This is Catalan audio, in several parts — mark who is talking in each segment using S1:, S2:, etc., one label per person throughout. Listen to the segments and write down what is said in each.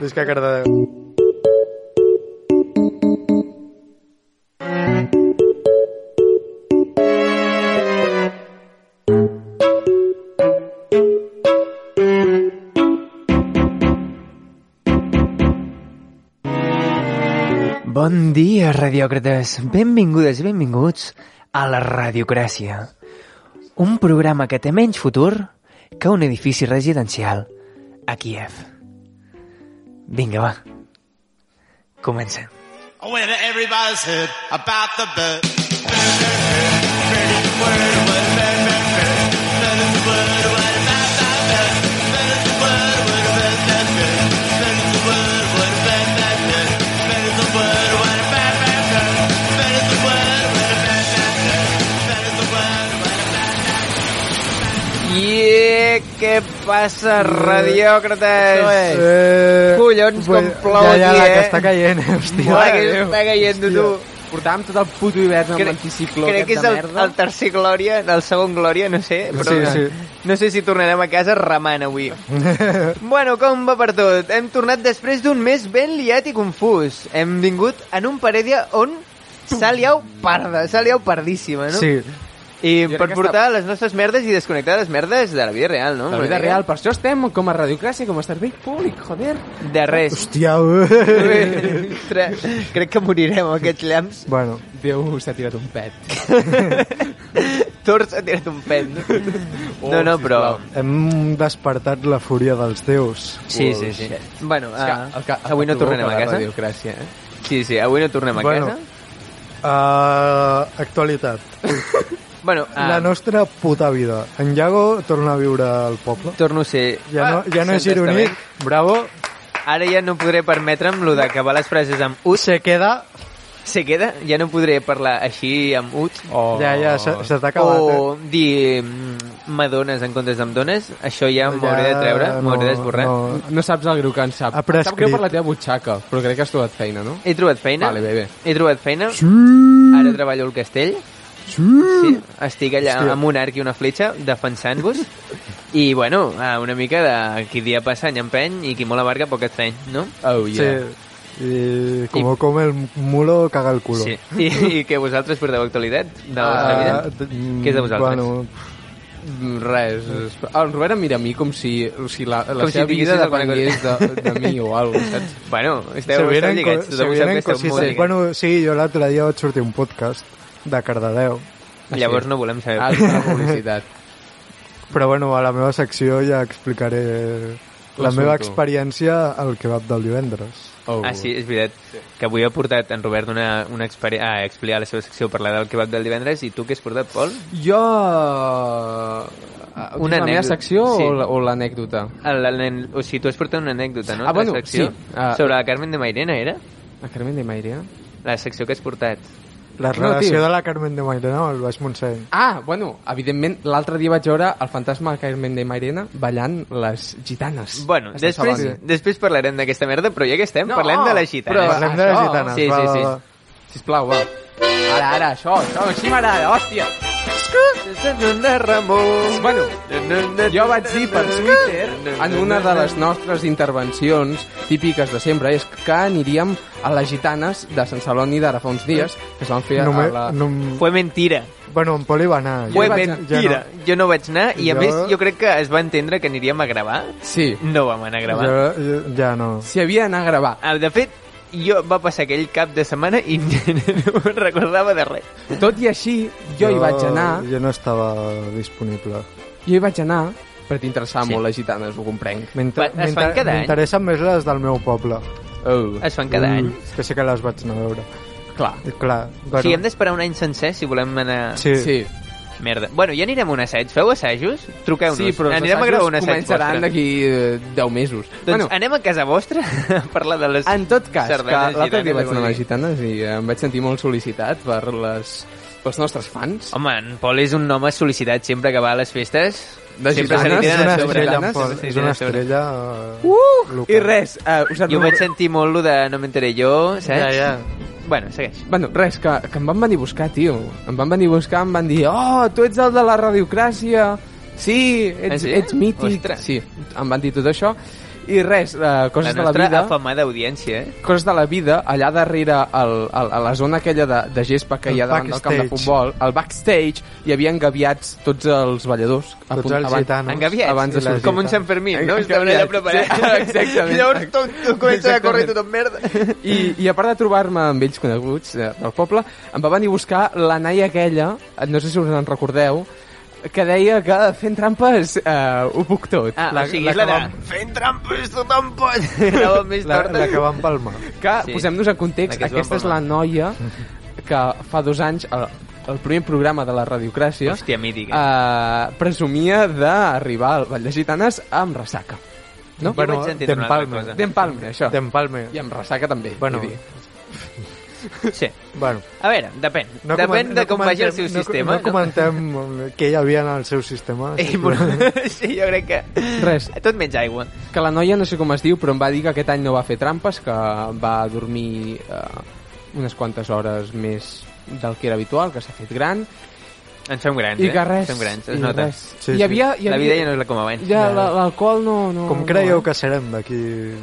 S1: Visca Cardedeu.
S2: Bon dia, radiòcrates. Benvingudes i benvinguts a la Radiocràcia. Un programa que té menys futur que un edifici residencial a Kiev. Vinga, va. Comencem.
S3: When everybody's heard about the bird.
S2: Yeah, què passa, radiòcrates?
S1: Eh,
S2: Collons, com
S1: bueno,
S2: plou
S1: ja, ja,
S2: aquí,
S1: la
S2: eh?
S1: que està caient, eh, hòstia.
S2: Mare
S1: Mare
S2: que
S1: Déu.
S2: està caient, tu.
S4: Portàvem tot el puto hivern amb
S2: Crec-
S4: l'anticicló
S2: Crec que és
S4: aquest de
S2: el,
S4: merda.
S2: el tercer Glòria, el segon Glòria, no sé, però
S1: Sí, sí.
S2: no sé si tornarem a casa remant avui. bueno, com va per tot? Hem tornat després d'un mes ben liat i confús. Hem vingut en un parèdia on s'ha liat parda, s'ha liat pardíssima, no?
S1: Sí,
S2: I
S4: crec
S2: per
S4: que
S2: portar les nostres merdes i desconnectar les merdes de la vida real, no?
S4: La vida real, per això estem com a radiocràcia, com a servei públic, joder.
S2: De res.
S1: hòstia. eh.
S2: Ostres, Crec que morirem amb aquests llamps.
S1: bueno,
S4: Déu s'ha tirat un pet.
S2: Tor s'ha tirat un pet.
S4: Oh,
S2: no, no, però...
S4: sisplau.
S1: hem despertat la fúria dels déus.
S2: Sí, sí, sí. Bueno,
S4: És que
S2: ah,
S4: el que- el
S2: avui
S4: que
S2: no tornarem
S4: provoca
S2: a
S4: la
S2: casa.
S4: Radiocràcia, eh?
S2: Sí, sí, avui no tornem a
S1: Bueno.
S2: casa.
S1: Uh, actualitat.
S2: Bueno, ah,
S1: La nostra puta vida. En Iago torna a viure al poble.
S2: torno a ser...
S1: Ja no, ja no és
S2: accent
S1: gironí.
S2: testament.
S1: Bravo.
S2: Ara ja no podré permetre'm lo d'acabar les frases amb ut.
S1: Se queda...
S2: Se queda? Ja no podré parlar així amb ut.
S4: Oh.
S1: Ja, ja, se, se t'ha acabat. eh?
S2: o dir mm, madones en comptes d'em dones. Això ja m'ho hauré de treure, m'ho hauré d'esborrar.
S1: no.
S4: No saps el greu que en sap.
S1: Ha
S4: Em sap greu
S1: prescrit.
S4: per la teva butxaca, però crec que has trobat feina, no?
S2: He trobat feina.
S4: Vale, bé, bé.
S2: He trobat feina.
S1: Sí,
S2: Ara treballo al castell. Sí, estic allà
S1: Mm. Hòstia.
S2: amb un arc i una fletxa defensant-vos. I, bueno, ah, una mica de qui dia passa any empeny i qui molt abarca poc estrany, no?
S4: Oh, yeah.
S1: sí. I com come el mulo, caga el culo.
S2: Sí. I, I que vosaltres porteu actualitat de la vostra
S1: Ah,
S2: vida?
S1: d-
S2: Què és de vosaltres?
S1: Bueno,
S4: Mm, Res. es- El Robert em mira a mi com si, o sigui, la, la
S2: Com si
S4: seva
S2: digués
S4: vida
S2: alguna
S4: depengués de, de mi o alguna cosa, saps?
S2: Bueno,
S1: se
S2: esteu, esteu
S1: vienen,
S2: lligats.
S1: co- se
S2: Tothom sap que
S1: vienen
S2: esteu
S1: cositas.
S2: molt lligats.
S1: Bueno, sí, jo l'altre dia vaig sortir un podcast de Cardedeu.
S2: Llavors no volem saber.
S4: Ah, és una publicitat.
S1: Però bueno, a la meva secció ja explicaré la
S4: L'assumpto.
S1: meva experiència al kebab del divendres.
S4: Oh.
S2: Ah, sí, és veritat. Que avui ha portat en Robert una, una experiència... Ah, explicar la seva secció, parlar del kebab del divendres, i tu què has portat, Pol?
S4: Jo... Una
S2: Una
S4: la meva
S2: anècdota.
S4: secció
S2: Sí.
S4: o la- o l'anècdota?
S2: El, el, el, o sigui, tu has portat una anècdota, no?
S4: Ah, bueno,
S2: la secció,
S4: sí. Ah.
S2: Sobre la Carmen de Mairena, era?
S4: La Carmen de Maire?
S2: La secció que has portat.
S1: La
S4: No,
S1: relació
S4: tio.
S1: de la Carmen de Mairena amb el Baix Montseny.
S4: Ah, bueno, evidentment, l'altre dia vaig veure el fantasma de Carmen de Mairena ballant les gitanes.
S2: Bueno,
S4: Estàs
S2: després,
S4: sabent?
S2: després parlarem d'aquesta merda, però ja que estem,
S4: No,
S2: parlem de la gitana.
S4: però-
S1: Parlem de les
S4: això?
S1: gitanes.
S2: Ah, Sí,
S1: va,
S2: sí,
S1: va,
S2: sí.
S1: va.
S4: Sisplau, va. Ara, ara, això, això, així m'agrada, hòstia.
S2: Ramon.
S4: Bueno, jo vaig dir per Twitter, en una de les nostres intervencions típiques de sempre, és que aniríem a les gitanes de Sant Celoni d'ara fa uns dies, que es van fer
S1: No me,
S4: a la...
S1: no, em-
S2: Fue mentira.
S1: Bueno, en Poli va anar.
S4: Jo
S2: Fue
S4: vaig anar.
S2: mentira. Jo no. jo no vaig anar i, a
S1: Jo-
S2: més, jo crec que es va entendre que aniríem a gravar.
S4: Sí,
S2: No vam anar a
S1: Jo,
S2: gravar.
S1: jo, Eh, ja no.
S4: s'hi havia d'anar a gravar.
S2: Ah, De fet, jo va passar aquell cap de setmana i no me'n recordava de res.
S4: Tot i així, jo, hi vaig anar...
S1: Jo no estava disponible.
S4: Jo hi vaig anar perquè t'interessava
S2: Sí.
S4: molt les gitanes, ho comprenc.
S1: M'inter-
S2: Es fan
S1: m'inter-
S2: cada any?
S1: M'interessen més les del meu poble.
S4: Oh, Mm,
S2: Es fan cada any.
S1: És que sí que les vaig anar a veure.
S4: clar.
S1: I clar,
S2: O
S1: bueno,
S2: sigui, hem d'esperar un any sencer si volem anar...
S1: sí.
S4: Sí,
S1: sí.
S2: Merda. Bueno, ja anirem a un assaig. Feu assajos? Truqueu-nos.
S4: sí però els
S2: anirem a gravar un
S4: assajos
S2: assaig
S4: començaran
S2: vostre.
S4: d'aquí eh, 10 mesos.
S2: Doncs bueno. anem a casa vostra a parlar de les...
S4: En tot cas, que
S2: sardanes
S4: l'altre dia
S2: gitanes,
S4: vaig anar a
S2: vull
S4: les
S2: dir.
S4: gitanes i eh, em vaig sentir molt sol·licitat per les, pels nostres fans.
S2: Home, en Pol és un home sol·licitat sempre que va a les festes.
S4: De
S2: sempre se li
S4: gitanes,
S1: És
S2: tiren
S1: una
S2: a sobre.
S1: estrella, en
S4: gitanes,
S1: Pol.
S2: sempre se li
S1: És
S2: tiren
S1: una
S2: a sobre.
S1: estrella... eh,
S4: Uh!
S1: local.
S4: I res, eh, us
S2: Jo vaig sentir molt lo de no m'enteré jo, saps?
S1: Ja, ja.
S2: Bueno, segueix.
S4: Bueno, res, que, que em van venir a buscar, tio. Em van venir a buscar, em van dir Oh, tu ets el de la radiocràcia. Sí,
S2: En
S4: ets,
S2: sèrio?
S4: ets mític.
S2: Ah, Ostres.
S4: Sí, em van dir tot això. I res, eh,
S2: La
S4: coses de la
S2: nostra
S4: vida...
S2: afamada audiència, eh?
S4: coses de la vida, allà darrere el, el, a la zona aquella de, de gespa que
S1: El
S4: hi ha davant del camp de
S1: backstage.
S4: futbol, al backstage, hi havia engaviats tots els balladors. a
S1: Tots
S4: punt-
S1: els
S4: abans-
S1: gitanos.
S2: Engaviats,
S4: Abans de
S1: i la
S4: sortir.
S2: Com un Sant Fermín, no?
S4: Engaviats,
S2: Estaven allà preparats.
S4: sí, exactament.
S2: I llavors tot, tot comença a córrer tot en merda.
S4: I, I a part de trobar-me amb ells coneguts eh, del poble, em va venir a buscar la naia aquella, eh, no sé si us en recordeu, que deia que fent trampes eh, ho puc tot.
S2: Ah,
S1: La-
S2: o sigui,
S1: la
S2: és
S1: que
S2: la de...
S1: vam-
S2: Fent trampes tothom pot. La vam més
S1: La,
S2: torta.
S1: la que va empalmar.
S4: Que,
S2: Sí.
S4: sí. posem-nos en context,
S2: La que es va
S4: aquesta és la noia que fa dos anys, el, el primer programa de la Radiocràcia,
S2: Hòstia, mítica.
S4: uh, presumia d'arribar al Vall de Gitanes amb ressaca. No?
S2: Jo vaig entendre una altra
S1: d'empalme.
S2: cosa.
S4: D'empalme, això.
S1: T'empalme.
S4: I amb ressaca també.
S1: Bueno,
S4: vull dir.
S2: Sí.
S1: bueno.
S2: A veure, depèn.
S1: No
S2: depèn
S1: comen-
S2: de
S1: no
S2: com vagi el
S1: comentem-
S2: seu
S1: no-
S2: sistema.
S1: No, comentem què hi havia en el seu sistema.
S2: Ei,
S1: sisplau.
S2: bueno, sí, jo crec que...
S4: Res.
S2: Tot menys aigua.
S4: Que la noia, no sé com es diu, però em va dir que aquest any no va fer trampes, que va dormir uh, unes quantes hores més del que era habitual, que s'ha fet gran,
S2: Ens fem grans,
S4: i
S2: eh?
S4: que res...
S2: Som grans, es
S4: i
S2: nota.
S4: Res.
S1: Sí,
S4: hi havia,
S2: La vida ja no és la com abans.
S4: Ja, la- l'alcohol no, no...
S1: Com
S4: no,
S1: creieu
S4: eh?
S1: que serem d'aquí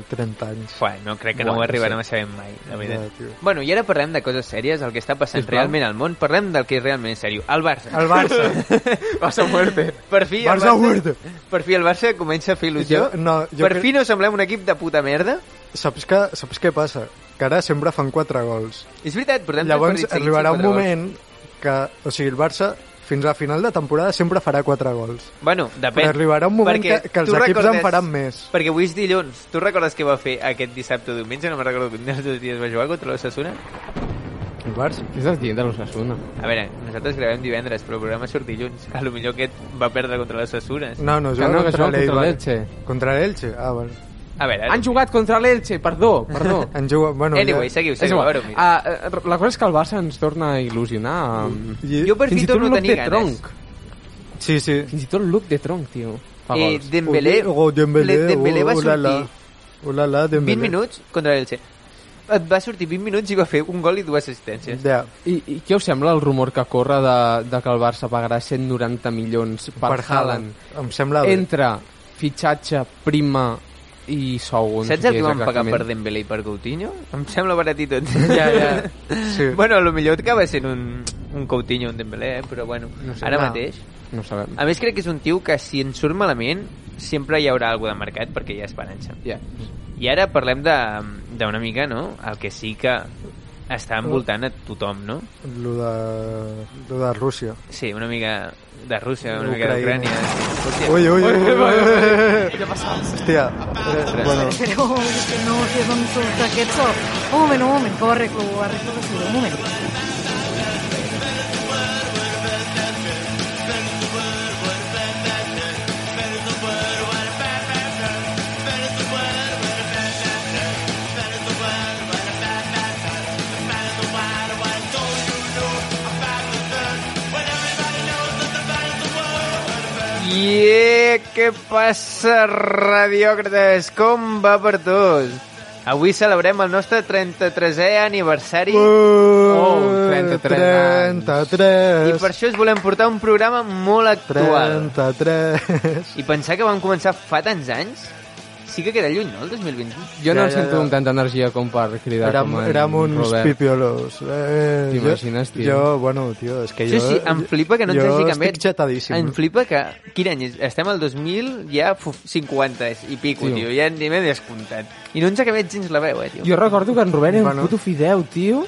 S1: 30 anys?
S2: Fuà, no crec que no
S4: Bueno,
S2: ho arribarem a saber mai, la veritat.
S1: Ja, tio.
S2: Bueno, i ara parlem de coses sèries, el que està passant
S4: Sisplau.
S2: realment al món. Parlem del que és realment sèrio. El Barça.
S1: El Barça.
S4: Passa fuerte.
S2: Per fi, el
S1: Barça
S2: Barça,
S1: Huerta.
S2: per fi el Barça comença a fer il·lusió.
S1: Jo- no, jo
S2: per
S1: cre-
S2: fi no semblem un equip de puta merda.
S1: Saps, que, saps què passa? Que ara sempre fan 4 gols.
S2: És veritat, portem
S1: Llavors
S2: tres partits seguits
S1: arribarà
S2: amb
S1: un
S2: quatre gols.
S1: moment que, o sigui, el Barça fins a final de temporada sempre farà 4 gols.
S2: Bueno, depèn.
S1: Però arribarà un moment
S2: Perquè
S1: que- que els
S2: tu
S1: equips en
S2: recordes-
S1: faran més.
S2: Perquè avui és dilluns. Tu recordes què va fer aquest dissabte o diumenge? No me'n recordo quin dels dos dies va jugar contra l'Ossassuna.
S1: El Barça?
S4: És el dia de l'Osasuna.
S2: A veure, nosaltres gravem divendres, però el programa surt dilluns. A lo millor aquest va perdre contra l'Ossassuna.
S1: No, no,
S4: Que
S1: jo
S4: no,
S1: contra
S4: que juega contra
S1: l'Eibar.
S4: l'Elche.
S1: Contra l'Elche? Ah, bueno.
S2: A veure,
S4: Han jugat contra l'Elche, perdó, perdó.
S1: En juga... Bueno,
S2: Anyway, seguiu,
S4: És
S2: seguiu. A
S4: igual.
S2: veure, mira.
S4: Ah, eh, la cosa és que el Barça ens torna a il·lusionar. Amb...
S1: I-
S2: Jo per
S4: Fins
S2: fi
S4: i tot
S2: torno a
S4: look
S2: tenir
S4: de
S2: ganes.
S4: tronc.
S1: Sí, sí.
S4: Fins i tot look de tronc, tio. Fa
S2: Eh,
S4: gols.
S2: Dembélé,
S1: Oh, Dembélé,
S2: Le- Dembélé va
S1: oh, la, la.
S2: sortir
S1: Oh, la, la, Dembélé.
S2: 20 minuts contra l'Elche. Et va sortir 20 minuts i va fer un gol i dues assistències.
S1: Ja.
S4: I, I què us sembla el rumor que corre de, de que el Barça pagarà 190 milions per, per Haaland?
S1: Em sembla bé.
S4: Entre fitxatge, prima i sou. No
S2: Saps el
S4: sé
S2: que
S4: què és
S2: van pagar
S4: exactament.
S2: per Dembélé i per Coutinho? Em sembla barat i tot.
S4: Ja, ja.
S1: Sí.
S2: Bueno, a lo millor acaba sent un, un Coutinho, un Dembélé, eh? però bueno, no
S4: sé,
S2: sé, ara
S1: va.
S2: mateix.
S4: No sabem.
S2: A més, crec que és un tio que si en surt malament sempre hi haurà alguna de mercat perquè hi ha esperança.
S4: Ja.
S2: I ara parlem de- d'una mica, no? El que sí que està envoltant a tothom, no?
S1: Lo de, lo de Rússia.
S2: Sí, una mica de Rússia, una mica
S1: Ucraïna.
S2: d'Ucrània. Hòstia.
S1: Ui, ui, ui, ui, ui. Què passa? Hòstia. Eh, Bueno,
S5: Pero es que no, que son sus taquets. Un moment, un moment, corre, corre, corre, un moment.
S2: Yeah, què passa, radiòcrates? Com va per tots? Avui celebrem el nostre 33è aniversari
S1: Oh,
S4: 33
S2: i
S1: 33.
S2: per això us volem portar un programa molt actual.
S1: 33.
S2: I pensar que vam començar fa tants anys sí que queda lluny, no?, el 2021.
S4: Jo no
S1: Ja,
S4: em
S1: ja,
S4: sento
S1: ja.
S4: amb tanta energia com per cridar
S1: Érem,
S4: com en
S1: érem uns
S4: Robert.
S1: pipiolos. Eh, jo-
S4: T'imagines, tio?
S1: Jo, bueno, tio, és que
S2: Sí,
S1: Eh, jo...
S2: sí, em flipa que no ens
S1: jo
S2: hagi canviat.
S1: estic xatadíssim.
S2: Em flipa que... Quin any és? Estem al 2000, ja fu- 50 i pico,
S4: Tio.
S2: tio. Ja ni m'he descomptat. I no ens ha canviat gens la veu, eh, tio.
S4: Jo recordo que en Robert era
S1: Bueno.
S4: un puto fideu, tio.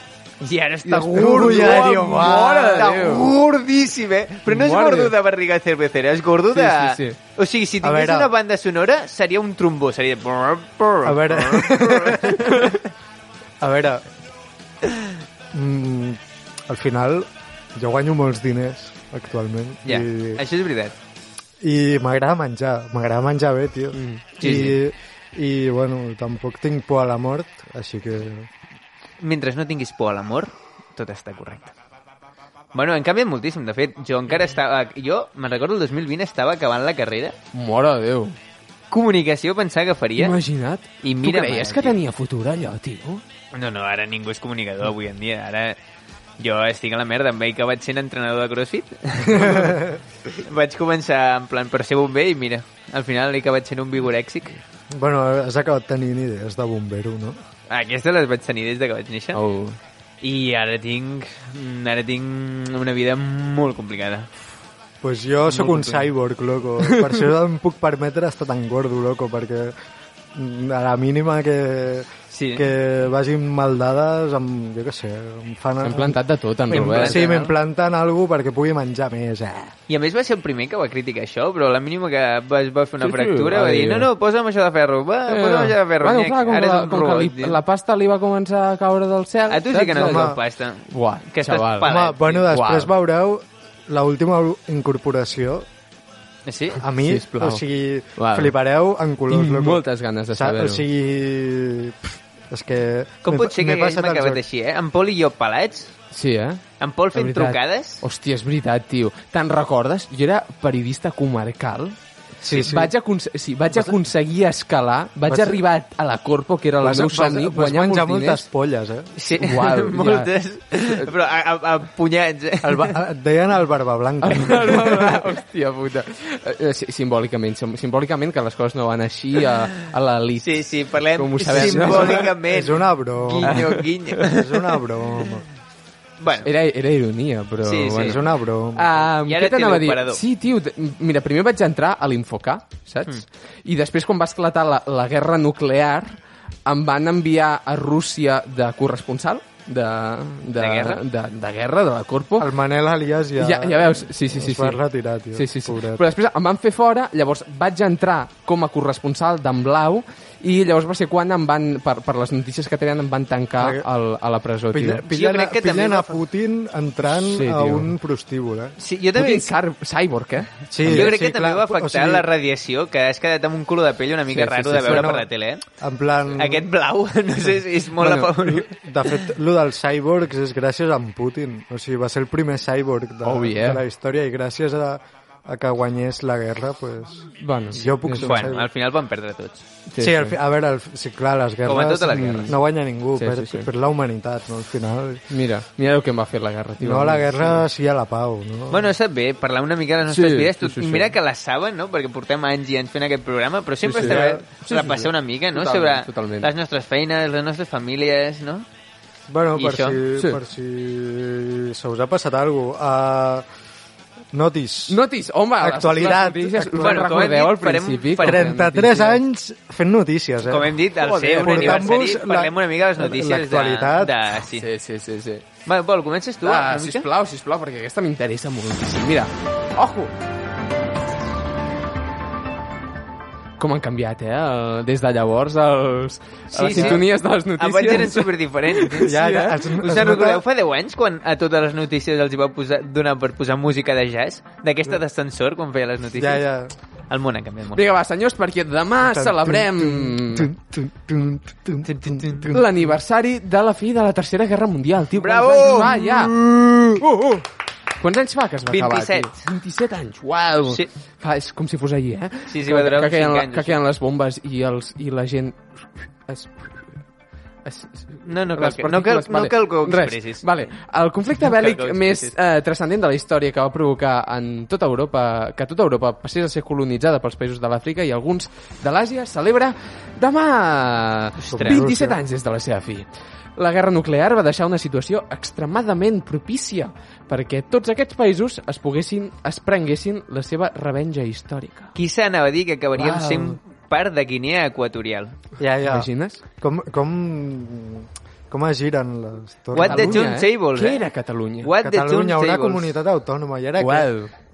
S2: I ara
S1: Està
S2: està gordo,
S1: gordo,
S2: tio,
S1: mare de
S2: està
S1: Déu.
S2: gordíssim, eh? Però no és
S4: Mare de
S2: gordo
S4: Déu.
S2: de barriga cervecera, és gordo
S4: Sí,
S2: de...
S4: sí, sí.
S2: O sigui, si tingués
S1: veure.
S2: una banda sonora, seria un trombó, seria... A
S1: A veure... a veure... Mm, al final, jo guanyo molts diners actualment
S2: Ja,
S1: i,
S2: això és veritat.
S1: i m'agrada menjar, m'agrada menjar bé, tio. Mm,
S2: sí,
S1: I, I, bueno, tampoc tinc por a la mort, així que...
S2: Mentre no tinguis por a l'amor, tot està correcte. Bueno, han canviat moltíssim, de fet. Jo encara estava... Jo, me'n recordo, el 2020 estava acabant la carrera.
S4: Mora de Déu.
S2: Comunicació pensava que faria.
S4: Imagina't.
S2: I mira, eh,
S4: tu creies
S2: mare,
S4: que
S2: tio.
S4: tenia futur allò, tio?
S2: No, no, ara ningú és comunicador avui en dia. Ara jo estic a la merda, em veig que vaig sent entrenador de CrossFit. vaig començar en plan per ser bomber i mira, al final he acabat sent un vigorèxic.
S1: Bueno, has acabat tenint idees de bombero, no?
S2: Aquesta les vaig tenir des de que vaig néixer. Oh.
S4: Oh.
S2: I ara tinc... mm, Ara tinc una vida molt complicada.
S1: Pues jo sóc un cyborg, loco. Per això em puc permetre estar tan gordo, loco, perquè mm, a la mínima que,
S2: Sí.
S1: que vagin mal dades, em, jo què sé, em fan...
S4: S'han plantat de tot, en
S2: eh?
S1: Em,
S4: Robert.
S1: sí, m'implanten alguna cosa perquè pugui menjar més, eh?
S2: I a més va ser el primer que va criticar això, però a la mínima que va, va fer una
S4: Sí, sí,
S2: fractura
S4: va
S2: va dir
S4: dir- Eh,
S2: no, no, posa'm això de ferro, va, posa'm això de ferro.
S4: bueno,
S2: nyec,
S4: clar, com,
S2: ara
S4: que,
S2: és
S4: la,
S2: un
S4: com que
S2: robot,
S4: li,
S2: tio.
S4: la pasta li va començar a caure del cel...
S2: A tu sí que no
S4: saps?
S2: et
S1: Home.
S2: deu pasta.
S4: Buah,
S2: Que estàs
S4: xaval.
S2: palat.
S1: Home,
S2: Palat,
S1: bueno,
S2: sí.
S1: després
S2: Uau.
S1: veureu l'última incorporació
S2: Sí?
S1: a mi,
S4: Sisplau.
S1: o sigui,
S4: Val.
S1: flipareu en colors,
S4: Tinc
S1: loco.
S4: moltes ganes de
S1: Sa-
S4: saber-ho.
S1: O sigui, pff, és que...
S2: Com
S1: m'he-
S2: pot ser que
S1: m'he
S2: haguéssim
S1: passat els
S2: acabat
S1: hores.
S2: així, eh? En Pol i jo pelats?
S4: Sí, eh?
S2: En Pol fent
S4: De veritat.
S2: trucades?
S4: Hòstia, és veritat, tio. Te'n recordes? Jo era periodista comarcal.
S1: Sí, sí.
S4: Vaig, aconse sí, vaig aconseguir escalar, vaig
S1: Vas-
S4: arribar a la Corpo, que era el
S1: Vas,
S4: meu
S1: vas, vas
S4: somni, guanyar
S1: menjar
S4: molts
S1: moltes
S4: diners.
S1: polles, eh?
S2: Sí,
S4: Uau, ja.
S2: moltes, però a, a, a punyats, eh?
S1: El, ba- et deien el Barba Blanca.
S4: Hòstia puta. Eh, eh, sí, Simbòlicament, sim- simbòlicament que les coses no van així a, a l'elit.
S2: Sí, sí, parlem
S4: Com ho sabem, no?
S2: simbòlicament.
S1: És una broma.
S2: Guinyo, guinyo.
S1: És una broma.
S2: Bueno,
S4: Era, era ironia, però...
S2: Sí, sí.
S1: És una
S2: Ah.
S1: broma.
S4: Um,
S2: I ara
S4: què t'anava a dir?
S2: teleoperador.
S4: Sí, tio, t- mira, primer vaig entrar a l'Infocà, saps?
S2: Mm.
S4: I després, quan va esclatar la, la guerra nuclear, em van enviar a Rússia de corresponsal, de, de,
S2: De guerra?
S4: De, de guerra, de la Corpo.
S1: El Manel Alias ja...
S4: Ja, ja veus, sí, sí, sí.
S1: Es va
S4: sí.
S1: retirar, tio.
S4: Sí, sí, sí.
S1: Pobret.
S4: Però després em van fer fora, llavors vaig entrar com a corresponsal d'en Blau i llavors va ser quan em van, per, per les notícies que tenien, em van tancar
S1: Ah,
S4: al, a la presó, tio.
S1: Pillen, pillen,
S2: crec que també
S1: pillen
S2: va
S1: a
S2: fer-
S1: Putin entrant
S4: Sí,
S1: a
S4: tio.
S1: un prostíbul, eh?
S2: sí, jo també...
S4: Putin cy- cyborg, eh?
S1: Sí,
S2: jo crec que
S1: sí,
S2: també
S1: clar,
S2: va afectar
S1: o sigui,
S2: la radiació, que has quedat amb un culo de pell una mica
S4: Sí, sí,
S2: raro
S4: sí,
S2: de
S4: sí,
S2: veure
S1: no.
S2: per la tele, eh?
S1: En plan...
S2: Aquest blau, no sé si és molt
S4: Bueno,
S2: bueno, afavorit.
S1: De fet, lo dels cyborgs és gràcies a en Putin. O sigui, va ser el primer cyborg de,
S4: Oh, yeah.
S1: de la història i gràcies a, a que guanyés la guerra, pues...
S4: Bueno,
S1: Jo puc ser un
S2: Bueno,
S1: cyborg.
S2: al final van perdre tots.
S1: Sí, sí, al fi- a veure, al fi- sí, clar, les guerres...
S2: Com a totes les guerres.
S1: No guanya ningú,
S4: Sí,
S1: sí, per,
S4: sí, sí.
S1: per la humanitat, no? Al final...
S4: Mira, mira el que em va fer la guerra, tio.
S1: No a la guerra, sí a la pau, no?
S2: Bueno, està bé, parlar una mica de les nostres
S4: Sí,
S2: vides.
S4: sí,
S2: Tot,
S4: sí,
S2: I
S4: sí.
S2: mira que la saben, no?, perquè portem anys i anys fent aquest programa, però sempre
S4: Sí, sí.
S2: està bé
S4: Sí, sí, sí.
S2: repassar una mica, no?,
S4: Totalment,
S2: sobre
S4: totalment.
S2: les nostres feines, les nostres famílies, no?
S1: Bueno,
S2: I
S1: per
S2: això?
S1: si,
S4: Sí.
S1: per si se us ha passat alguna cosa. Uh, notis.
S4: Notis, home, les-
S1: Actualitat.
S4: les notícies, us
S1: Bueno,
S4: en
S2: com hem
S4: recordeu
S2: dit,
S4: al
S2: farem-
S4: principi?
S2: farem
S4: com fem
S1: 33
S4: notícies?
S1: anys fent notícies, eh?
S2: Com hem dit, al
S1: Joder,
S2: ser un
S1: portant-vos
S2: aniversari,
S1: la-
S2: parlem una mica de les notícies de...
S1: l'actualitat.
S2: de... Sí. sí.
S4: Sí, sí, sí, sí.
S2: Vale, Pol, comences tu?
S4: Ah,
S2: una mica?
S4: sisplau, sisplau, perquè aquesta m'interessa moltíssim. Mira, ojo! Com han canviat, eh? el- Des de llavors, els,
S2: Sí,
S4: les
S2: sí.
S4: sintonies de les notícies.
S2: Abans eren superdiferents.
S1: Ja,
S2: Sí,
S1: ja,
S2: eh?
S1: es-
S2: Us
S1: es
S2: en recordeu
S1: nota-
S2: fa 10 anys quan a totes les notícies els hi va posar, donar per posar música de jazz? D'aquesta d'ascensor, quan feia les notícies?
S1: Ja, ja.
S2: El món ha canviat molt.
S4: Vinga, va, senyors, perquè demà celebrem
S1: Tun, tun, tun, tun, tun, tun, tun, tun.
S4: l'aniversari de la fi de la Tercera Guerra Mundial, tio.
S2: Bravo!
S4: Quants anys va, ja? Uh, uh. Quants anys fa que es va acabar,
S2: 27.
S4: tio? 27 anys, uau!
S2: Sí.
S4: Clar, és com si fos ahir, eh?
S2: Sí, sí, va durar
S4: que,
S2: uns
S4: que,
S2: cinc
S4: caien,
S2: anys,
S4: que
S2: sí.
S4: caien les bombes i, els, i la gent... Es, es, es,
S2: No, no cal,
S4: les
S2: que, no cal,
S4: partícules,
S2: no cal que ho expressis.
S4: Res, vale. El conflicte
S2: No cal
S4: bèl·lic
S2: que ho
S4: més
S2: expressis.
S4: eh, transcendent de la història que va provocar en tota Europa, que tota Europa passés a ser colonitzada pels països de l'Àfrica i alguns de l'Àsia, celebra demà
S2: Ostres.
S4: 27 anys des de la seva fi. La guerra nuclear va deixar una situació extremadament propícia perquè tots aquests països es poguessin, es prenguessin la seva revenja històrica.
S2: Qui s'anava a dir que acabaríem
S4: Uau.
S2: sent part de Guinea Equatorial?
S1: Ja, ja.
S4: T'imagines?
S1: Com, com, com es giren les torres?
S2: What the
S4: Catalunya,
S2: turntables,
S4: Què
S2: eh?
S4: era Catalunya?
S2: What the
S1: Catalunya, una
S2: turntables?
S1: comunitat autònoma. I ara
S4: Uau,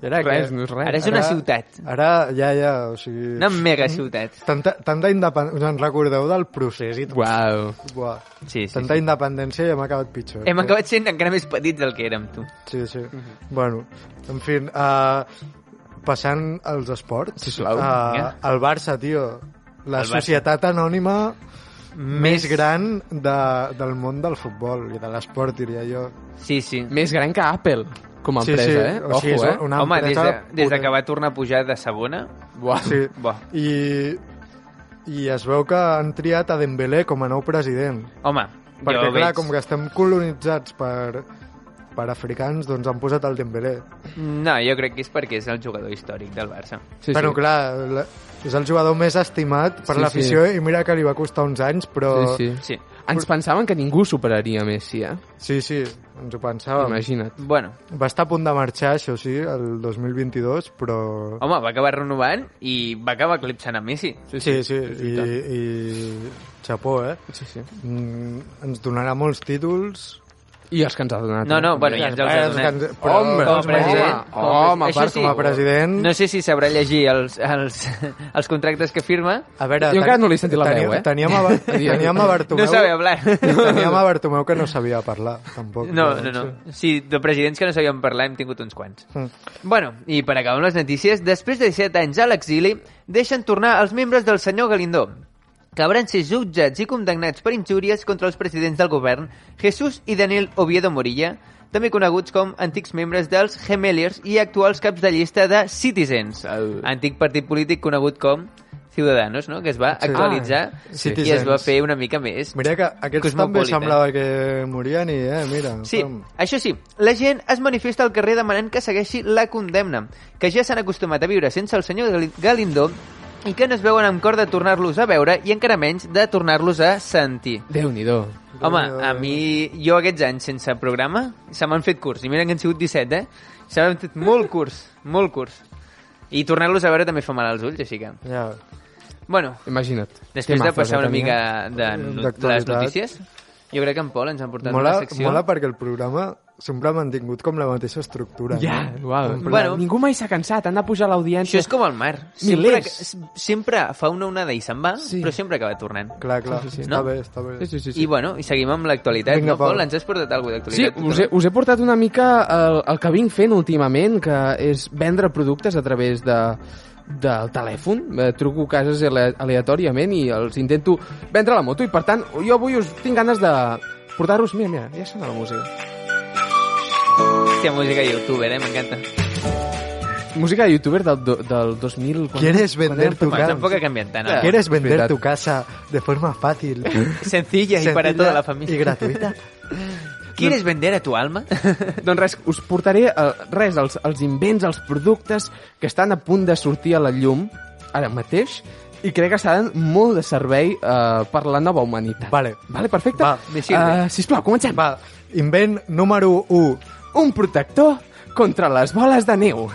S1: que... Era
S4: res,
S1: que...
S4: no és res.
S2: Ara és una ciutat.
S1: Ara, ja, ja, o sigui...
S2: Una mega ciutat.
S1: Tanta, tanta independència... En recordeu del procés i tot?
S4: Uau.
S1: Buah.
S2: Sí, sí.
S1: Tanta independència i hem acabat pitjor.
S2: Hem acabat sent encara més petits del que érem, tu.
S1: Sí, sí.
S2: Mhm.
S1: Bueno, en fi, uh, passant als esports,
S4: Sisplau,
S1: uh,
S2: vinga.
S1: el Barça, tio, la
S2: El Barça.
S1: societat anònima més, gran de, del món del futbol i de l'esport, diria jo.
S2: Sí, sí.
S4: Més gran que Apple, com a
S1: Sí,
S4: empresa,
S1: sí,
S4: eh?
S1: o sigui,
S4: Ojo,
S1: és
S4: eh?
S1: una
S2: Home, des de,
S1: empresa
S2: des de
S1: potent.
S2: que va tornar a pujar de segona...
S4: Buah.
S1: Sí.
S2: Buah.
S1: I, I es veu que han triat a Dembélé com a nou president.
S2: Home,
S1: Perquè,
S2: jo
S1: clar,
S2: veig...
S1: com que estem colonitzats per per africans doncs han posat el Dembélé.
S2: No, jo crec que és perquè és el jugador històric del Barça.
S1: Sí, però sí. clar, la, és el jugador més estimat per
S4: Sí,
S1: sí, l'afició sí. i mira que li va costar uns anys, però...
S4: Sí, sí.
S2: Sí.
S4: Ens pensaven que ningú superaria Messi, eh?
S1: sí, sí, ens ho pensàvem.
S4: Imagina't.
S2: Bueno,
S1: Va estar a punt de marxar, això sí, el 2022, però...
S2: home, va acabar renovant i va acabar eclipsant a Messi.
S1: Sí, sí, sí, sí i, i... Chapó, eh?
S4: Sí, sí.
S1: Mm, ens donarà molts títuls...
S4: I els que ens ha donat.
S2: No, no,
S4: eh?
S2: bueno, ja ens els ha donat.
S1: Ens- Però,
S4: Home,
S1: doncs,
S2: home,
S1: president,
S4: home, home,
S2: Això
S4: per
S2: sí.
S1: com a president...
S2: No sé si sabrà llegir els, els, els contractes que firma.
S1: A veure,
S4: Jo encara no li he sentit la
S1: teníem-
S4: veu, eh?
S1: Teníem a, Bar- teníem a Bartomeu...
S2: No sabe hablar.
S1: Teníem a Bartomeu que no sabia parlar, tampoc. eh,
S2: No, no, no. Sí, de presidents que no sabíem parlar hem tingut uns quants.
S1: Mm.
S2: Bueno, i per acabar amb les notícies, després de 17 anys a l'exili, deixen tornar els membres del senyor Galindó, que van ser jutjats i condemnats per injúries contra els presidents del govern, Jesús i Daniel Oviedo Morilla, també coneguts com antics membres dels Gemeliers i actuals caps de llista de Citizens,
S4: El-
S2: antic partit polític conegut com Ciudadanos, no? que es va
S1: Sí.
S2: actualitzar
S1: Ah,
S2: i es va
S1: Citizens.
S2: fer una mica més
S1: Mira que aquests també
S2: Cosmopolita.
S1: semblava que morien i, eh, mira...
S2: Sí,
S1: com-
S2: això sí, la gent es manifesta al carrer demanant que segueixi la condemna, que ja s'han acostumat a viure sense el senyor Gali- Galindó i que no es veuen amb cor de tornar-los a veure i encara menys de tornar-los a sentir.
S4: Déu-n'hi-do.
S2: Home, a mi, jo aquests anys sense programa se m'han fet curts, i mira que han sigut 17, eh? Se m'han fet molt curts, molt curts. I tornar-los a veure també fa mal als ulls, així que...
S1: Ja.
S2: Bueno,
S4: Imagina't.
S2: després de
S4: Temazos,
S2: passar
S4: eh,
S2: una
S4: tenia.
S2: mica de, no- de les
S1: D'actualitat.
S2: notícies, jo crec que en Pol ens ha portat
S1: Mola,
S2: una secció...
S1: mola perquè el programa sempre ha mantingut com la mateixa estructura.
S4: Ja,
S1: no?
S4: uau.
S2: Bueno.
S4: Bueno, ningú mai s'ha cansat, han de pujar
S2: Això
S4: l'audiència.
S2: és com el mar. Sempre,
S4: Milers.
S2: que- sempre fa una onada i se'n va,
S4: Sí.
S2: però sempre acaba tornant.
S1: Clar, clar,
S4: Sí, sí, sí.
S1: està
S2: No?
S1: bé, està bé.
S4: Sí, sí, sí. sí.
S2: I bueno, i seguim amb l'actualitat.
S1: Vinga,
S2: No, Pol,
S1: Pol.
S2: ens has portat alguna cosa
S4: Sí,
S2: d'actualitat?
S4: us he, us he portat una mica el, el que vinc fent últimament, que és vendre productes a través de, del telèfon. Eh, truco cases ale- aleatòriament i els intento vendre la moto i, per tant, jo avui us tinc ganes de portar-vos... Mira, mira, ja sona la música.
S2: Hòstia, música youtuber, eh? M'encanta.
S4: Música de youtuber del, do- del 2000... quan-
S1: ¿Quieres
S4: quan
S1: vender
S4: era-
S1: tu
S2: Bueno,
S1: Claro.
S2: tampoc ha canviat tant. eh?
S1: ¿Quieres vender
S4: Veritat.
S1: tu casa de forma fácil,
S2: Sencilla y para
S1: sencilla
S2: toda la
S1: y
S2: familia.
S1: gratuita?
S2: ¿Quieres vender a tu alma?
S4: Doncs res, us portaré eh, res, els, els invents, els productes que estan a punt de sortir a la llum ara mateix i crec que seran molt de servei eh, per la nova humanitat.
S1: Vale.
S4: Vale, perfecte.
S1: Va,
S2: me sirve.
S4: Eh, sisplau, comencem.
S1: Va, invent número 1.
S4: Un protector contra les boles de neu.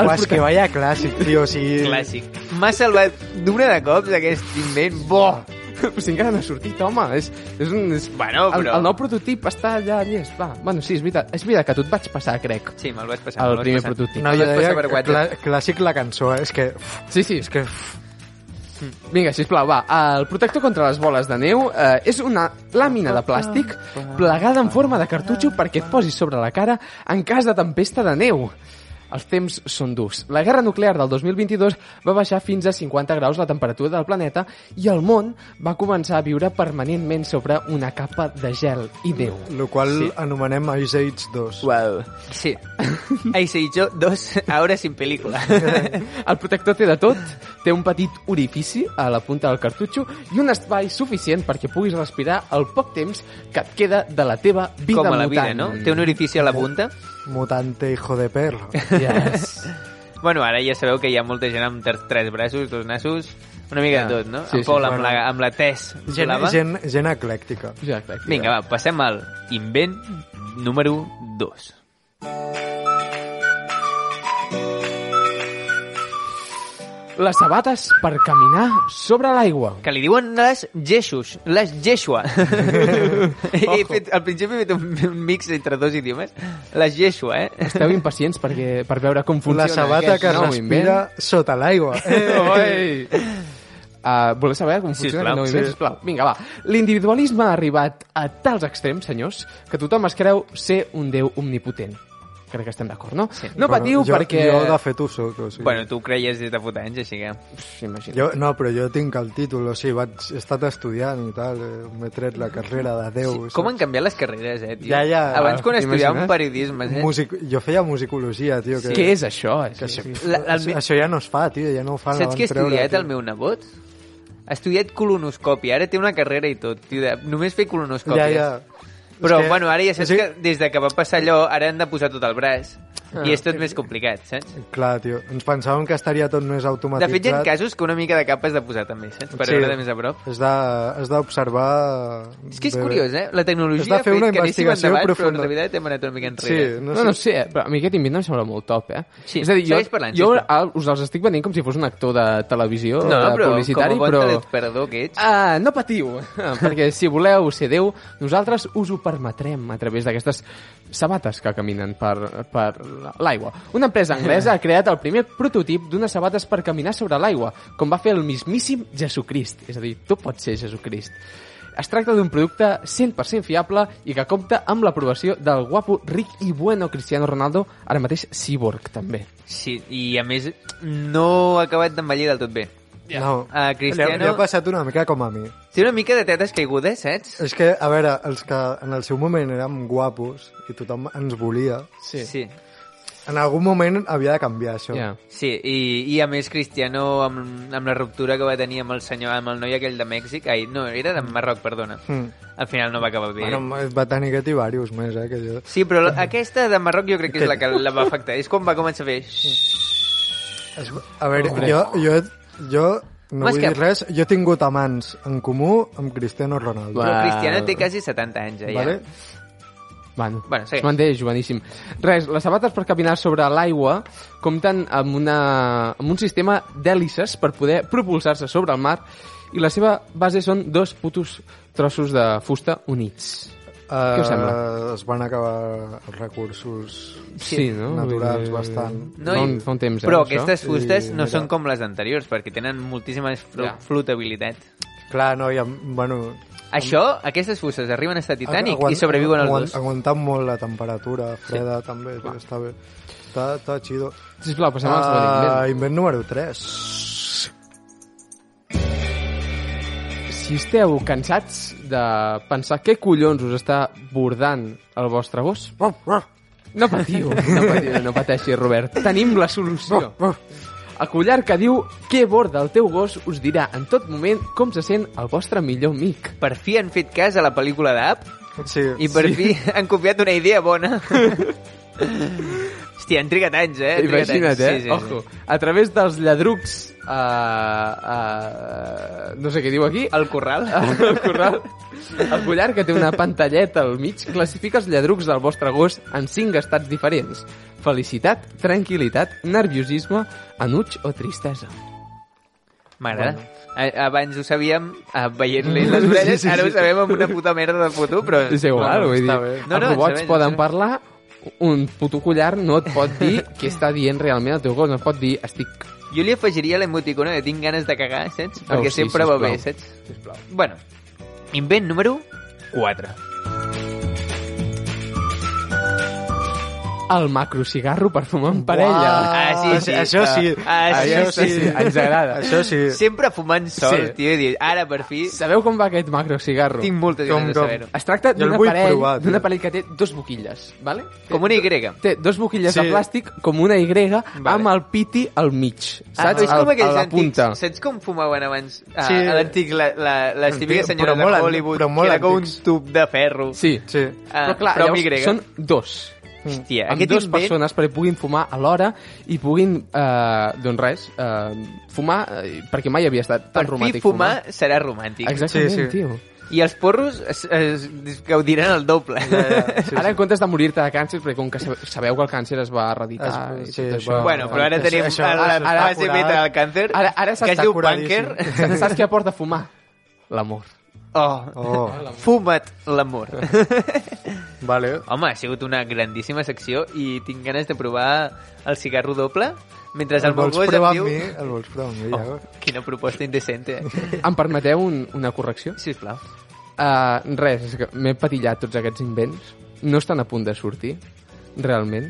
S4: El
S1: Uah, és que vaya clàssic, tio, o sigui...
S2: Clàssic. M'ha salvat d'una de cops aquest invent. Bo!
S4: Pues encara no ha sortit, home. És, és un... És...
S2: Bueno,
S4: El,
S2: però...
S4: el nou prototip està allà llest. Va, bueno, sí, és veritat. És veritat que tu et vaig passar, crec,
S2: Sí, me'l vas passar. me'l
S4: el
S2: vas
S4: primer
S2: passar.
S4: prototip.
S1: No, jo
S2: Pots passar
S1: deia
S2: per
S1: que
S2: quatre.
S1: clà- clàssic la cançó, eh? és que...
S4: Sí, sí, és que... Vinga, sisplau, va. El protector contra les boles de neu eh, és una làmina de plàstic plegada en forma de cartutxo perquè et posis sobre la cara en cas de tempesta de neu. Els temps són durs. La guerra nuclear del 2022 va baixar fins a 50 graus la temperatura del planeta i el món va començar a viure permanentment sobre una capa de gel i neu.
S1: Lo qual sí. anomenem Ice Age 2.
S4: Wow.
S2: Sí. Ahí se yo dos ahora sin película.
S4: El protector té de tot, té un petit orifici a la punta del cartutxo i un espai suficient perquè puguis respirar el poc temps que et queda de la teva vida
S2: Com a la
S4: mutant.
S2: vida, no? Té un orifici a la punta.
S1: Mutante hijo de perro.
S4: Yes.
S2: Bueno, ara ja sabeu que hi ha molta gent amb ter- tres braços, dos nassos, una mica de tot, no? Sí,
S4: Sí,
S2: en
S4: sí,
S2: Pol amb,
S1: bueno.
S2: la, amb la tes
S1: Gent,
S2: solava.
S1: gent, gent eclèctica.
S4: Exacte. exacte.
S2: Vinga, va, passem al invent número 2.
S4: Les sabates per caminar sobre l'aigua.
S2: Que li diuen les Jeixus, les Jeixua. he fet, al principi he fet un, un mix entre dos idiomes. Les Jeixua, eh?
S4: Esteu impacients perquè, per veure com funciona
S1: La sabata
S4: aquest
S1: que
S4: nou
S1: respira sota l'aigua. Eh,
S4: invent. Oi! Uh, voleu saber com
S2: Sisplau,
S4: funciona el nou invent?
S2: sí.
S4: Sisplau. Vinga, va. L'individualisme ha arribat a tals extrems, senyors, que tothom es creu ser un déu omnipotent. Crec que estem d'acord, no? Sí. No patiu
S1: Bueno, jo,
S4: perquè...
S1: Jo, de fet, ho soc, o sigui...
S2: Bueno, tu ho creies des de fot anys, així que...
S4: Imagina.
S1: Jo, no, però jo tinc el títol, o sigui, vaig, he estat estudiant i tal, eh, m'he tret la carrera de Déu. saps?
S2: Com han canviat les carreres, eh, tio?
S1: Ja, ja.
S2: Abans quan
S4: T'imagines?
S2: estudiàvem periodisme, eh?
S1: Music... Jo feia musicologia, tio. Que...
S4: Què és això?
S1: Que sí.
S2: La, el,
S1: Això ja no es fa, tio, ja no ho fan. la
S2: saps
S1: van
S2: què ha
S1: treure,
S2: estudiat
S1: tio.
S2: el meu nebot? Ha estudiat colonoscòpia, ara té una carrera i tot, tio, de... només fer
S1: Ja,
S2: colonoscòpia.
S1: ja.
S2: Però,
S1: És que-
S2: bueno, ara ja saps
S1: sí,
S2: que des de que va passar allò, ara han de posar tot el braç.
S1: Ah,
S2: I és tot més complicat, saps?
S1: Clar, tio, ens pensàvem que estaria tot més
S2: De
S1: automatitzat.
S2: fet, hi ha casos que una mica de capa has de posar també, saps? Per
S1: Sí.
S2: veure de més a prop.
S1: Has de- has d'observar...
S2: És que és
S1: bé, bé.
S2: curiós, eh? La tecnologia
S1: Has de
S2: ha
S1: fer
S2: fet
S1: una
S2: que anéssim
S1: investigació
S2: endavant, però en
S1: profunda.
S2: realitat hem anat una mica
S1: Sí,
S2: enrere.
S1: no
S4: No,
S1: sé.
S4: no, sé, però a mi aquest invent em sembla molt top, eh?
S2: Sí,
S4: és a dir, jo,
S2: segueix parlant,
S4: jo
S2: sisplau.
S4: ah, us els estic venint com si fos un actor de televisió,
S2: No,
S4: de
S2: però
S4: publicitari,
S2: com a bon
S4: però...
S2: teletperdó que ets...
S4: Ah, no patiu, perquè si voleu ser Déu, nosaltres us ho permetrem a través d'aquestes sabates que caminen per, per l'aigua. Una empresa anglesa ha creat el primer prototip d'unes sabates per caminar sobre l'aigua, com va fer el mismíssim Jesucrist. És a dir, tu pots ser Jesucrist. Es tracta d'un producte 100% fiable i que compta amb l'aprovació del guapo, ric i bueno Cristiano Ronaldo, ara mateix cyborg també.
S2: Sí, i a més, no ha acabat d'envellir del tot bé.
S1: No.
S2: A Eh, Cristiano-
S1: Li ha, li ha passat una mica com a mi.
S2: Té una mica de tetes caigudes, saps?
S1: És que, a veure, els que en el seu moment érem guapos i tothom ens volia,
S2: Sí.
S1: en algun moment havia de canviar això.
S4: Yeah.
S2: Sí, i, i a més Cristiano amb, amb la ruptura que va tenir amb el senyor, amb el noi aquell de Mèxic, ai, no, era de Marroc, perdona.
S1: Mm.
S2: Al final no va acabar bé.
S1: Bueno, va tenir aquest i diversos més, eh, que jo...
S2: Sí, però la- aquesta de Marroc jo crec que és la que la va afectar. És quan va començar a fer...
S1: Es- A veure, jo, jo, jo no
S2: Mas
S1: vull
S2: que-
S1: dir res, jo he tingut amants en comú amb Cristiano Ronaldo.
S2: Però Cristiano té quasi 70 anys, eh, ja.
S1: Vale?
S4: Bueno,
S2: Bueno, segueix.
S4: es manté joveníssim. Res, les sabates per caminar sobre l'aigua compten amb, una, amb un sistema d'hèlices per poder propulsar-se sobre el mar i la seva base són dos putos trossos de fusta units.
S1: Eh,
S4: Què us sembla?
S1: Es van acabar els recursos
S4: Sí, no?
S1: naturals
S4: Vull dir,
S1: bastant.
S2: No,
S4: fa,
S2: i-
S4: un, fa un temps,
S2: Però
S4: eh, això.
S2: aquestes fustes
S1: I
S2: no
S1: mira.
S2: són com les anteriors, perquè tenen moltíssima flu
S4: Ja.
S2: flotabilitat.
S1: Clar, no, i, amb- bueno...
S2: Això, aquestes fustes arriben a estar Titanic
S1: aguant-
S2: i sobreviuen els
S1: aguant-
S2: dos.
S1: Aguantant molt la temperatura freda, també, tio, està bé. Està, està chido.
S4: Sisplau, passem al
S1: Ah,
S4: següent
S1: invent número 3.
S4: invent. Si esteu cansats de pensar què collons us està bordant el vostre gos, No patiu, no patiu, no pateixis, Robert. Tenim la solució. El collar que diu què borda el teu gos us dirà en tot moment com se sent el vostre millor amic.
S2: Per fi han fet cas a la pel·lícula d'App
S1: Sí.
S2: i per fi han copiat una idea bona. Hòstia, han trigat anys, eh? Han trigat anys.
S4: Imagina't, eh?
S2: Sí, sí, sí.
S4: Ojo, a través dels lladrucs... Uh, uh, no sé què diu aquí.
S2: El corral.
S4: El corral. El collar que té una pantalleta al mig classifica els lladrucs del vostre gos en cinc estats diferents. Felicitat, tranquil·litat, nerviosisme, enuig o tristesa.
S2: M'agrada. A- Abans ho sabíem eh, veient-li les orelles, ara ho sabem amb una puta merda de foto, però...
S4: És igual,
S2: Bueno,
S4: vull dir,
S2: està bé.
S4: no, no, els robots
S2: ens
S4: poden
S2: serveix.
S4: parlar, un puto collar no et pot dir què està dient realment el teu gos, no et pot dir estic...
S2: Jo li afegiria l'emoticona de tinc ganes de cagar, saps? Perquè
S4: Oh, sí,
S2: sempre va bé,
S4: sisplau.
S2: saps? Bueno, invent número 4.
S4: El macrocigarro per fumar en parella.
S2: Ah, sí, sí.
S1: Això sí.
S2: Ah, sí,
S1: això
S2: sí, sí.
S4: ens agrada.
S1: Això sí.
S2: Sempre fumant sol,
S4: Sí.
S2: tio, i dius, ara per fi
S4: Sabeu com va aquest macrocigarro?
S2: tinc moltes
S1: Com,
S2: ganes de
S1: com.
S2: saber-ho.
S4: Es tracta
S1: Jo el
S4: d'un
S1: vull
S4: aparell,
S1: provar, tio.
S4: d'un aparell que té dos boquilles, vale?
S2: Com una Y.
S4: Té dos boquilles
S1: Sí.
S4: de plàstic com una Y amb el piti al mig.
S2: Ah,
S4: Saps?
S2: és com
S4: Al- a
S2: aquells
S4: la punta.
S2: antics. Saps com fumaven abans ah,
S1: Sí.
S2: sí. a l'antic la, la, les típiques
S1: Antic,
S2: senyores
S1: però
S2: de
S1: molt an-
S2: Hollywood,
S1: però molt
S2: que era com un
S1: antics.
S2: tub de ferro.
S4: Sí.
S1: Sí.
S2: Ah,
S4: Però clar,
S2: però amb
S4: llavors
S2: Y.
S4: són dos.
S2: Hòstia,
S4: amb
S2: aquest
S4: dues
S2: invent...
S4: persones perquè puguin fumar alhora i puguin, eh, doncs res, eh, fumar, eh, perquè mai havia estat
S2: Per
S4: tan
S2: fi
S4: romàntic
S2: fumar serà romàntic.
S4: Exactament,
S1: Sí, sí.
S4: tio.
S2: I els porros es, es, es gaudiran el doble. Ja, ja.
S4: Sí, Ara, en comptes de morir-te de càncer, perquè com que sabe- sabeu que el càncer es va erradicar
S1: Es-
S4: i
S1: sí,
S4: tot això...
S1: va-
S2: Bueno, però ara
S1: Això-
S2: tenim
S1: això-
S2: la, la,
S1: això
S2: la
S1: està
S2: base
S1: curat.
S2: meta del càncer,
S4: Ara- ara
S2: que es
S4: s'està
S2: diu
S1: curadíssim.
S2: pànquer.
S4: Saps- Saps què aporta fumar? L'amor.
S2: Oh,
S1: Oh,
S2: fuma't l'amor.
S1: vale.
S2: Home, ha sigut una grandíssima secció i tinc ganes de provar el cigarro doble mentre el,
S1: El
S2: meu
S1: vols
S2: gos em
S1: provar
S2: diu...
S1: amb mi? El vols provar
S2: Oh.
S1: amb mi, ja.
S2: Quina proposta indecente,
S4: Em permeteu un, una correcció?
S2: sisplau.
S4: Uh, res, és que m'he patillat tots aquests invents. No estan a punt de sortir, realment.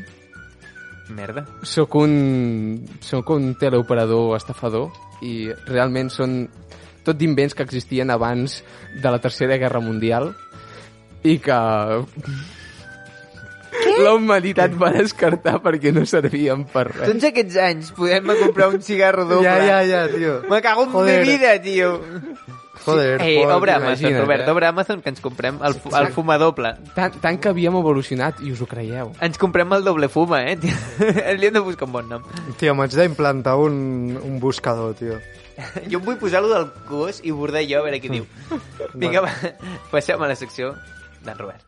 S2: Merda.
S4: Sóc un, sóc un teleoperador estafador i realment són tot d'invents que existien abans de la Tercera Guerra Mundial i que... Què? la humanitat va descartar perquè no servien per res.
S2: Tots aquests anys podem comprar un cigarro doble.
S1: Ya, ya, ya, tío.
S2: Me cago en
S1: Joder.
S2: mi vida, tio.
S1: Joder,
S2: Ei,
S1: Pol,
S2: obre Eh, Amazon,
S4: imagina't,
S2: Robert,
S4: eh?
S2: obre Amazon que ens comprem el, fu- el fuma doble.
S4: Tant, tant que havíem evolucionat, i us ho creieu.
S2: Ens comprem el doble fuma, eh? tio. Li hem de buscar un bon nom.
S1: Tio, m'haig d'implantar un, un buscador, tio.
S2: Jo em vull posar-lo del gos i bordar jo a veure què diu. Vinga, va, passem a la secció d'en Robert.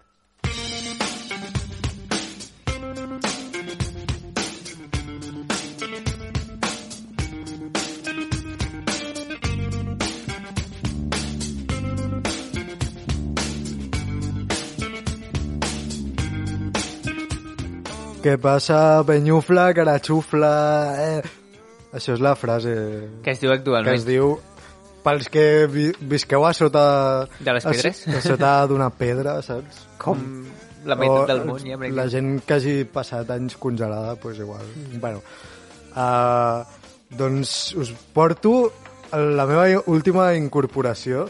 S1: Què passa, penyufla, carachufla... Eh? Això és la frase
S2: Què es diu
S1: que
S2: actualment?
S1: es diu... Pels que vi visqueu a sota...
S2: De les
S1: a so-
S2: pedres?
S1: A, sota d'una pedra, saps?
S2: Com la meitat
S1: O
S2: del món, ja,
S1: Oh, La
S2: pràcticament.
S1: gent que hagi passat anys congelada, doncs igual.
S2: Mm.
S1: Bueno, uh, doncs us porto la meva última incorporació,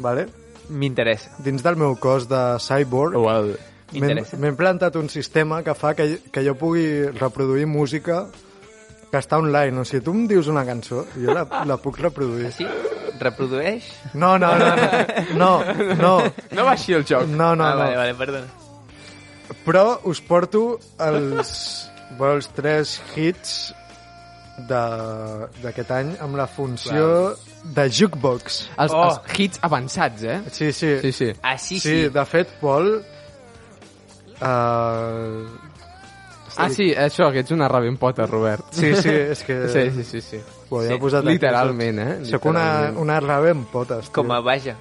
S1: vale?
S2: M'interessa.
S1: dins del meu cos de cyborg.
S4: Well,
S1: M'he
S2: M'interessa.
S1: m'he implantat un sistema que fa que, que jo pugui reproduir música que està online. O sigui, tu em dius una cançó i jo la, la puc reproduir.
S2: Sí? Reprodueix?
S1: No, no, no, no, no, no,
S4: no va així el joc.
S1: no, no,
S2: ah, vale,
S1: no.
S2: vale, perdona.
S1: Però us porto els, bueno, els tres hits de- d'aquest any amb la funció de jukebox.
S4: Els,
S2: Oh.
S4: oh. els hits avançats, eh?
S1: Sí, sí.
S4: Sí, sí.
S2: Així sí.
S1: Sí, de fet, Pol... Uh,
S4: Ah, sí, això, que ets una Raven Potter, Robert.
S1: sí, sí, és que...
S4: Sí, sí, sí, sí.
S1: Ho havia
S2: Sí,
S1: posat aquí,
S4: literalment,
S1: saps?
S4: eh?
S1: Sóc una,
S4: Literalment.
S1: una rave amb potes, tio.
S2: Com a vaja.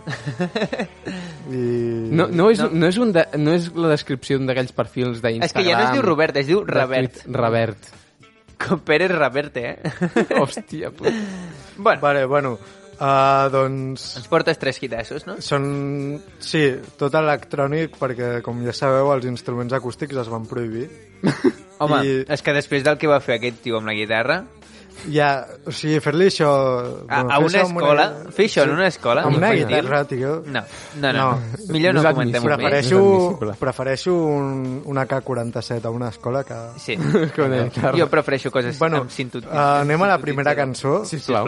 S1: I...
S4: No, no, és,
S2: No.
S4: no. no, és, un de, no és la descripció d'un d'aquells perfils d'Instagram.
S2: És que ja no es diu Robert, es diu
S4: de
S2: Robert.
S4: Twitter. Robert.
S2: Com Pérez Reverte, eh?
S4: Hòstia, puta.
S2: bueno,
S1: Vale, bueno, uh, doncs...
S2: ens portes tres quitassos, no?
S1: Són... Sí, tot electrònic, perquè, com ja sabeu, els instruments acústics es van prohibir.
S2: Home, I...
S1: I-
S2: és que després del que va fer aquest tio amb la guitarra,
S1: Ja, o sigui, fer-li això...
S2: a,
S1: bueno,
S2: a
S1: fer
S2: una
S1: això amb
S2: escola, fer això en una escola...
S1: Amb una
S2: infantil?
S1: guitarra, tio.
S2: No, no, no.
S1: No.
S2: no. Millor no,
S4: No és
S2: comentem
S4: admissible.
S2: més.
S1: Prefereixo,
S4: No és admissible.
S1: prefereixo un, una K47 a una escola que...
S2: Sí.
S4: Com de guitarra.
S2: Jo prefereixo coses
S1: Bueno,
S2: amb sintot...
S1: eh, anem a la primera cançó.
S4: Sisplau.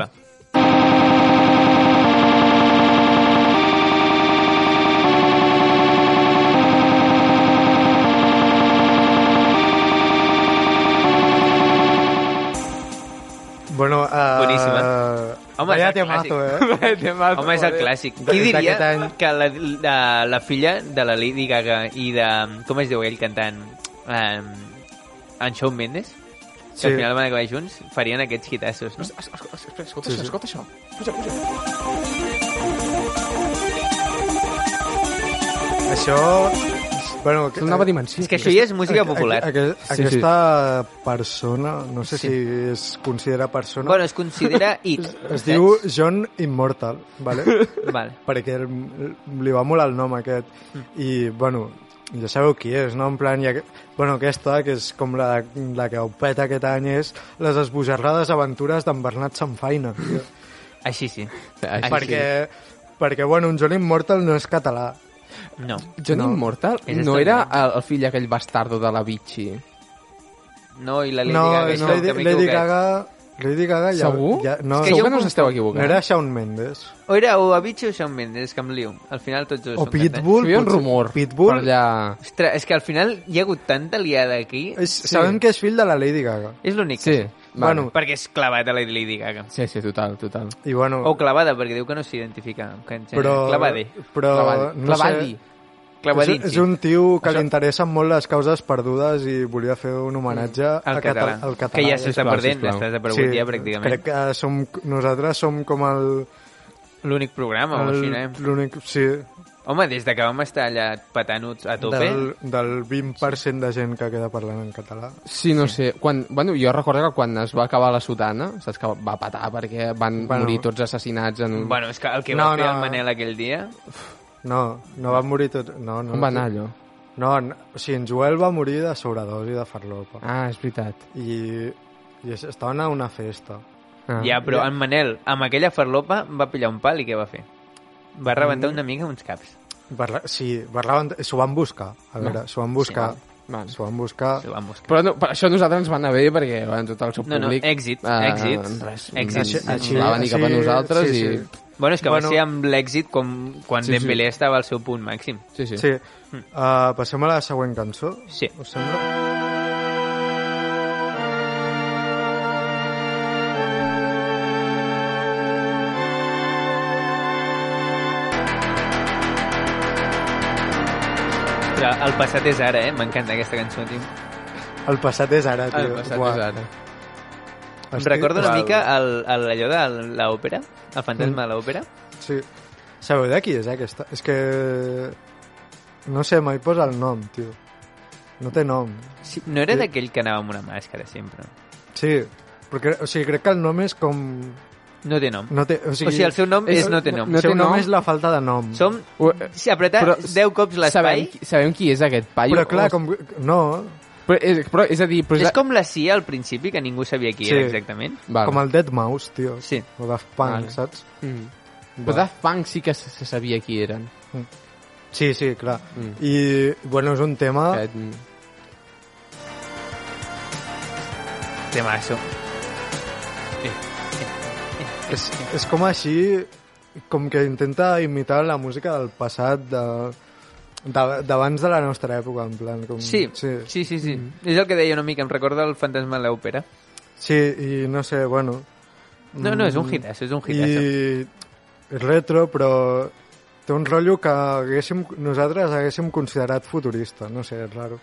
S1: Bueno, uh,
S2: Boníssima. Home,
S1: Home, vaya
S2: és el
S1: temazo, eh?
S4: Temazo,
S2: Home, és el
S4: eh?
S2: clàssic. Qui
S1: D'aquest
S2: diria
S1: any.
S2: que la, la, la filla de la Lady Gaga i de... Com es diu ell cantant? Um, en Shawn Mendes? Que
S1: Sí.
S2: al final van acabar junts, farien aquests hitassos, no?
S4: Es- es- es- Espera, escolta això, escolta això. Puja, puja.
S1: Això... Bueno, eh,
S4: És una nova dimensió.
S2: És que això ja és música popular.
S1: Aqu aqu
S4: Sí, sí.
S1: aquesta persona, no sé
S2: Sí.
S1: sí. si es considera persona,
S2: Bueno, es considera it.
S1: es
S2: saps?
S1: diu John Immortal, vale?
S2: Vale.
S1: perquè el- li va molt el nom aquest. I, bueno, ja sabeu qui és, no? En plan, ja, bueno, aquesta, que és com la, la que ho peta aquest any, és les esbojarrades aventures d'en Bernat Sanfaina. tio.
S2: Així sí.
S4: Així
S1: perquè, perquè, bueno, un John Immortal no és català.
S2: No.
S4: Johnny
S1: No.
S4: Immortal
S2: És
S4: no
S2: estrany.
S4: era el, el fill aquell bastardo de la Vichy.
S2: No, i la Lady
S1: no,
S2: Gaga.
S1: és
S2: això,
S1: Lady,
S2: que m'he
S1: Lady
S2: equivocat.
S1: Gaga... Lady Gaga ja...
S4: Segur?
S1: Ja, no,
S4: És que
S2: jo ho
S4: Segur que no us esteu equivocant.
S1: no era Shawn Mendes.
S2: O era o Avicii o Shawn Mendes, que em lio. Al final tots dos
S1: O
S2: són cantants.
S1: Pitbull.
S4: Hi havia un
S1: potser-
S4: rumor
S1: Pitbull.
S4: per allà...
S2: Ostres, és que al final hi ha hagut tanta liada aquí.
S1: És, Sabem que és fill de la Lady Gaga.
S2: És l'únic.
S4: Sí,
S2: que sé.
S1: Bueno.
S2: Perquè és clavat a la Lady Gaga.
S4: Sí, sí, total, total.
S1: I bueno...
S2: O clavada, perquè diu que no s'identifica. amb que en gènere.
S1: però,
S2: Clavade.
S1: però
S4: Clavadi.
S1: no
S4: Clavadi.
S1: sé,
S2: Clavadinci.
S1: És, és un tio que li interessen molt les causes perdudes i volia fer un homenatge
S2: Mm. Al
S1: a
S2: català.
S1: Al català.
S2: Que ja s'està
S4: sisplau,
S2: perdent,
S4: sisplau.
S2: està desaparegut ja pràcticament.
S1: Crec que som, nosaltres som com el...
S2: L'únic programa, o així,
S1: el-
S2: eh?
S1: L'únic... Sí,
S2: Home, des de que vam estar allà petant-nos a tope...
S1: del, del 20% de gent que queda parlant en català.
S4: Sí, no sí. sé. Quan, bueno, jo recordo que quan es va acabar la sotana, saps que va patar perquè van
S1: Bueno.
S4: bueno. morir tots assassinats en un...
S2: Bueno, és que el que
S1: No,
S2: va fer
S1: no.
S2: el Manel aquell dia...
S1: No, no van morir tots... No, no,
S4: On va anar allò?
S1: No, no, o sigui, en Joel va morir de sobredosi de farlopa. Ah.
S4: Ah, és veritat.
S1: I, I es- estaven a una festa.
S4: Ah.
S2: Ja, però en Manel, amb aquella farlopa, va pillar un pal i què va fer? Va
S1: Mm.
S2: rebentar una mica uns caps.
S1: Barla... Sí, barlaven... S'ho van buscar. A veure, s'ho van buscar.
S4: Val.
S1: S'ho van buscar.
S2: Ho vam buscar.
S4: Però no, per això a nosaltres ens va anar bé, perquè van tot el seu
S2: No, no,
S4: públic...
S2: èxit,
S1: Ah,
S4: eh,
S2: èxit,
S4: res,
S1: doncs,
S2: èxit.
S4: Així,
S1: Així-
S4: així, va venir cap a
S1: així-
S4: nosaltres
S1: sí,
S4: i...
S1: sí.
S2: Bueno, és que
S1: Bueno.
S2: bueno, va ser amb l'èxit com quan
S4: Sí,
S2: sí,
S4: sí.
S2: Dembélé estava al seu punt màxim.
S4: Sí, sí.
S1: Sí. Uh, passem a la següent cançó,
S2: Sí.
S1: us sembla?
S2: Però el passat és ara, eh? M'encanta aquesta cançó, tio.
S1: El passat és ara,
S2: Ah,
S1: tio.
S4: El passat
S1: Buah.
S4: és ara.
S2: Em
S1: Estic-
S2: recorda una
S1: Uau.
S2: mica el, el, allò de l'òpera, el fantasma de l'òpera.
S1: Sí. Sabeu de qui és eh, aquesta? És que... No sé, mai posa el nom, tio. No té nom.
S2: Sí, no era
S1: Sí.
S2: d'aquell que anava amb una màscara sempre.
S1: Sí, perquè, o sigui, crec que el nom és com...
S2: No té nom.
S1: No té, o, sigui,
S2: O sigui, el seu nom és no té nom.
S1: el
S4: no
S1: seu
S4: té
S1: nom,
S4: nom.
S1: és la falta de nom.
S2: Som...
S4: Ho-
S2: Si apretar
S4: Però
S2: 10 cops l'espai...
S4: Sabem, qui- sabem qui és aquest paio.
S1: Però clar, com... No,
S4: Però és, però és a dir... Però és,
S2: És com la CIA al principi, que ningú sabia qui
S1: Sí.
S2: era exactament.
S4: Val.
S1: com el Dead Mouse, tio.
S2: Sí.
S1: O Daft Punk,
S4: Vale.
S1: saps?
S4: Mm. Però Daft Punk sí que se, se sabia qui eren.
S1: Sí, sí, clar.
S4: Mm.
S1: I, bueno, és un tema...
S4: Aquest, mm.
S2: Temasso.
S1: És, és com així, com que intenta imitar la música del passat de de- d'abans de la nostra època, en plan... Com,
S2: Sí, sí,
S1: sí.
S2: sí, sí. sí. Mm. És el que deia una mica, em recorda el fantasma de l'òpera.
S1: Sí, i no sé, bueno...
S2: No, no, és un hitasso, és un hitasso.
S1: I és retro, però té un rotllo que haguéssim, nosaltres haguéssim considerat futurista, no sé, és raro.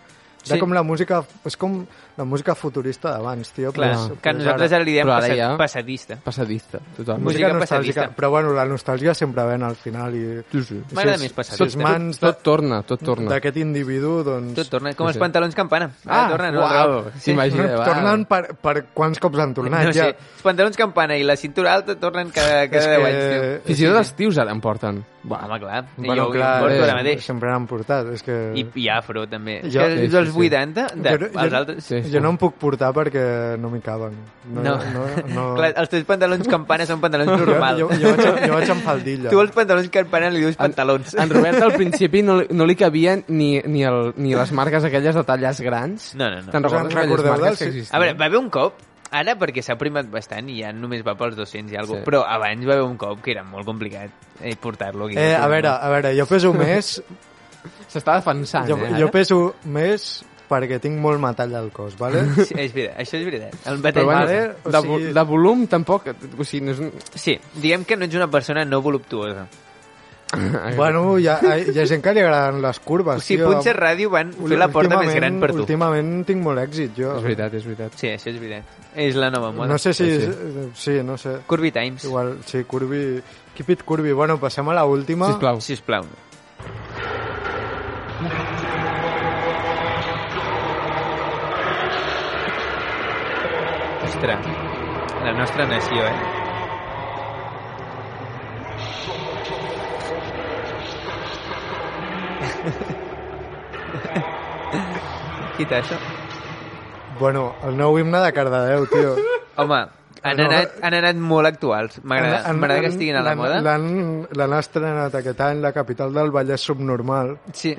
S1: Era
S2: Sí.
S1: com la música, és com la música futurista d'abans, tio.
S2: Clar,
S1: però és- però
S2: que
S1: és
S2: nosaltres
S1: ara.
S2: ara li diem
S4: Però ara
S2: passat,
S4: ja-
S2: passadista.
S4: Passadista, totalment.
S2: Música
S1: música nostàlgica,
S2: passadista.
S1: però bueno, la nostàlgia sempre ven al final i...
S4: Sí, sí.
S1: Si
S2: M'agrada
S1: és-
S2: més
S1: Si
S2: passadista.
S1: és mans de,
S4: Tot torna, tot torna.
S1: d'aquest individu, doncs...
S2: Tot torna, com
S4: Sí,
S2: els
S4: sí.
S2: pantalons campana. Ara
S4: Ah,
S2: tornen,
S4: uau, s'imagina.
S1: Tornen- eh, Tornen per, per quants cops han tornat,
S2: No
S1: ja.
S2: sé, els pantalons campana i la cintura alta tornen cada, cada 10 anys, tio.
S4: Fins i tot els tios ara em porten. Buah,
S2: Home, clar,
S1: Bueno,
S2: jo
S1: clar,
S2: ho porto
S4: eh,
S2: ara mateix.
S1: sempre n'han portat, és que...
S2: I, I afro, també.
S1: Jo-
S2: Jo, que
S4: sí,
S2: els dels
S4: sí, sí.
S2: 80, de,
S1: Jo no- jo
S2: els
S1: no-
S2: altres...
S4: sí, sí.
S1: Jo no em puc portar perquè no m'hi caben. No,
S2: No,
S1: no, no.
S2: Clar, els teus pantalons campana són pantalons
S1: jo,
S2: normals.
S1: jo, jo, vaig, jo vaig amb faldilla.
S2: Tu els pantalons campana li dius pantalons.
S4: En Robert al principi no, li- no li cabien ni, ni, el, ni les marques aquelles de talles grans.
S2: No, no, no.
S4: Te'n recordes
S1: Us en
S4: aquelles
S1: recordeu del-
S4: marques que
S1: sí.
S4: existien?
S2: A veure, va haver un cop, ara perquè s'ha primat bastant i ja només va pels 200 i alguna
S4: Sí.
S2: sí. però abans va haver un cop que era molt complicat eh, portar-lo. aquí.
S1: Eh, a veure, a veure, jo peso més,
S4: S'està defensant,
S1: jo,
S4: eh?
S1: jo
S4: ara?
S1: peso més perquè tinc molt metall al cos, vale?
S2: Sí, és veritat, això és veritat. El
S4: Però
S2: batall...
S4: bueno,
S1: Vale, o
S4: de,
S1: sigui-
S4: vo- de volum tampoc... O sigui, no és... un-
S2: Sí, diguem que no ets una persona no voluptuosa.
S1: Bueno, hi ha, hi ha gent que li agraden les
S2: O
S1: curves,
S2: sigui,
S1: tio.
S2: Punxer Ràdio van fer la porta més gran per tu.
S1: Últimament tinc molt èxit, jo.
S4: És veritat, és veritat.
S2: Sí, això és veritat. És la nova moda.
S1: No sé si...
S4: Sí,
S1: Sí, no sé.
S2: Curvy Times,
S1: Igual, sí, Curvy... Keep it Curvy. Bueno, passem a l'última.
S4: Sisplau.
S2: sisplau. Ostres, la nostra nació, eh? Quita això.
S1: Bueno, el nou himne de Cardedeu, tio.
S2: Home, han
S1: No.
S2: anat, han anat molt actuals. M'agrada
S1: Han-
S2: m'agrada
S1: han-
S2: que estiguin a la
S1: l'han-
S2: moda.
S1: L'han l'han estrenat aquest any, la capital del Vallès Subnormal.
S2: Sí.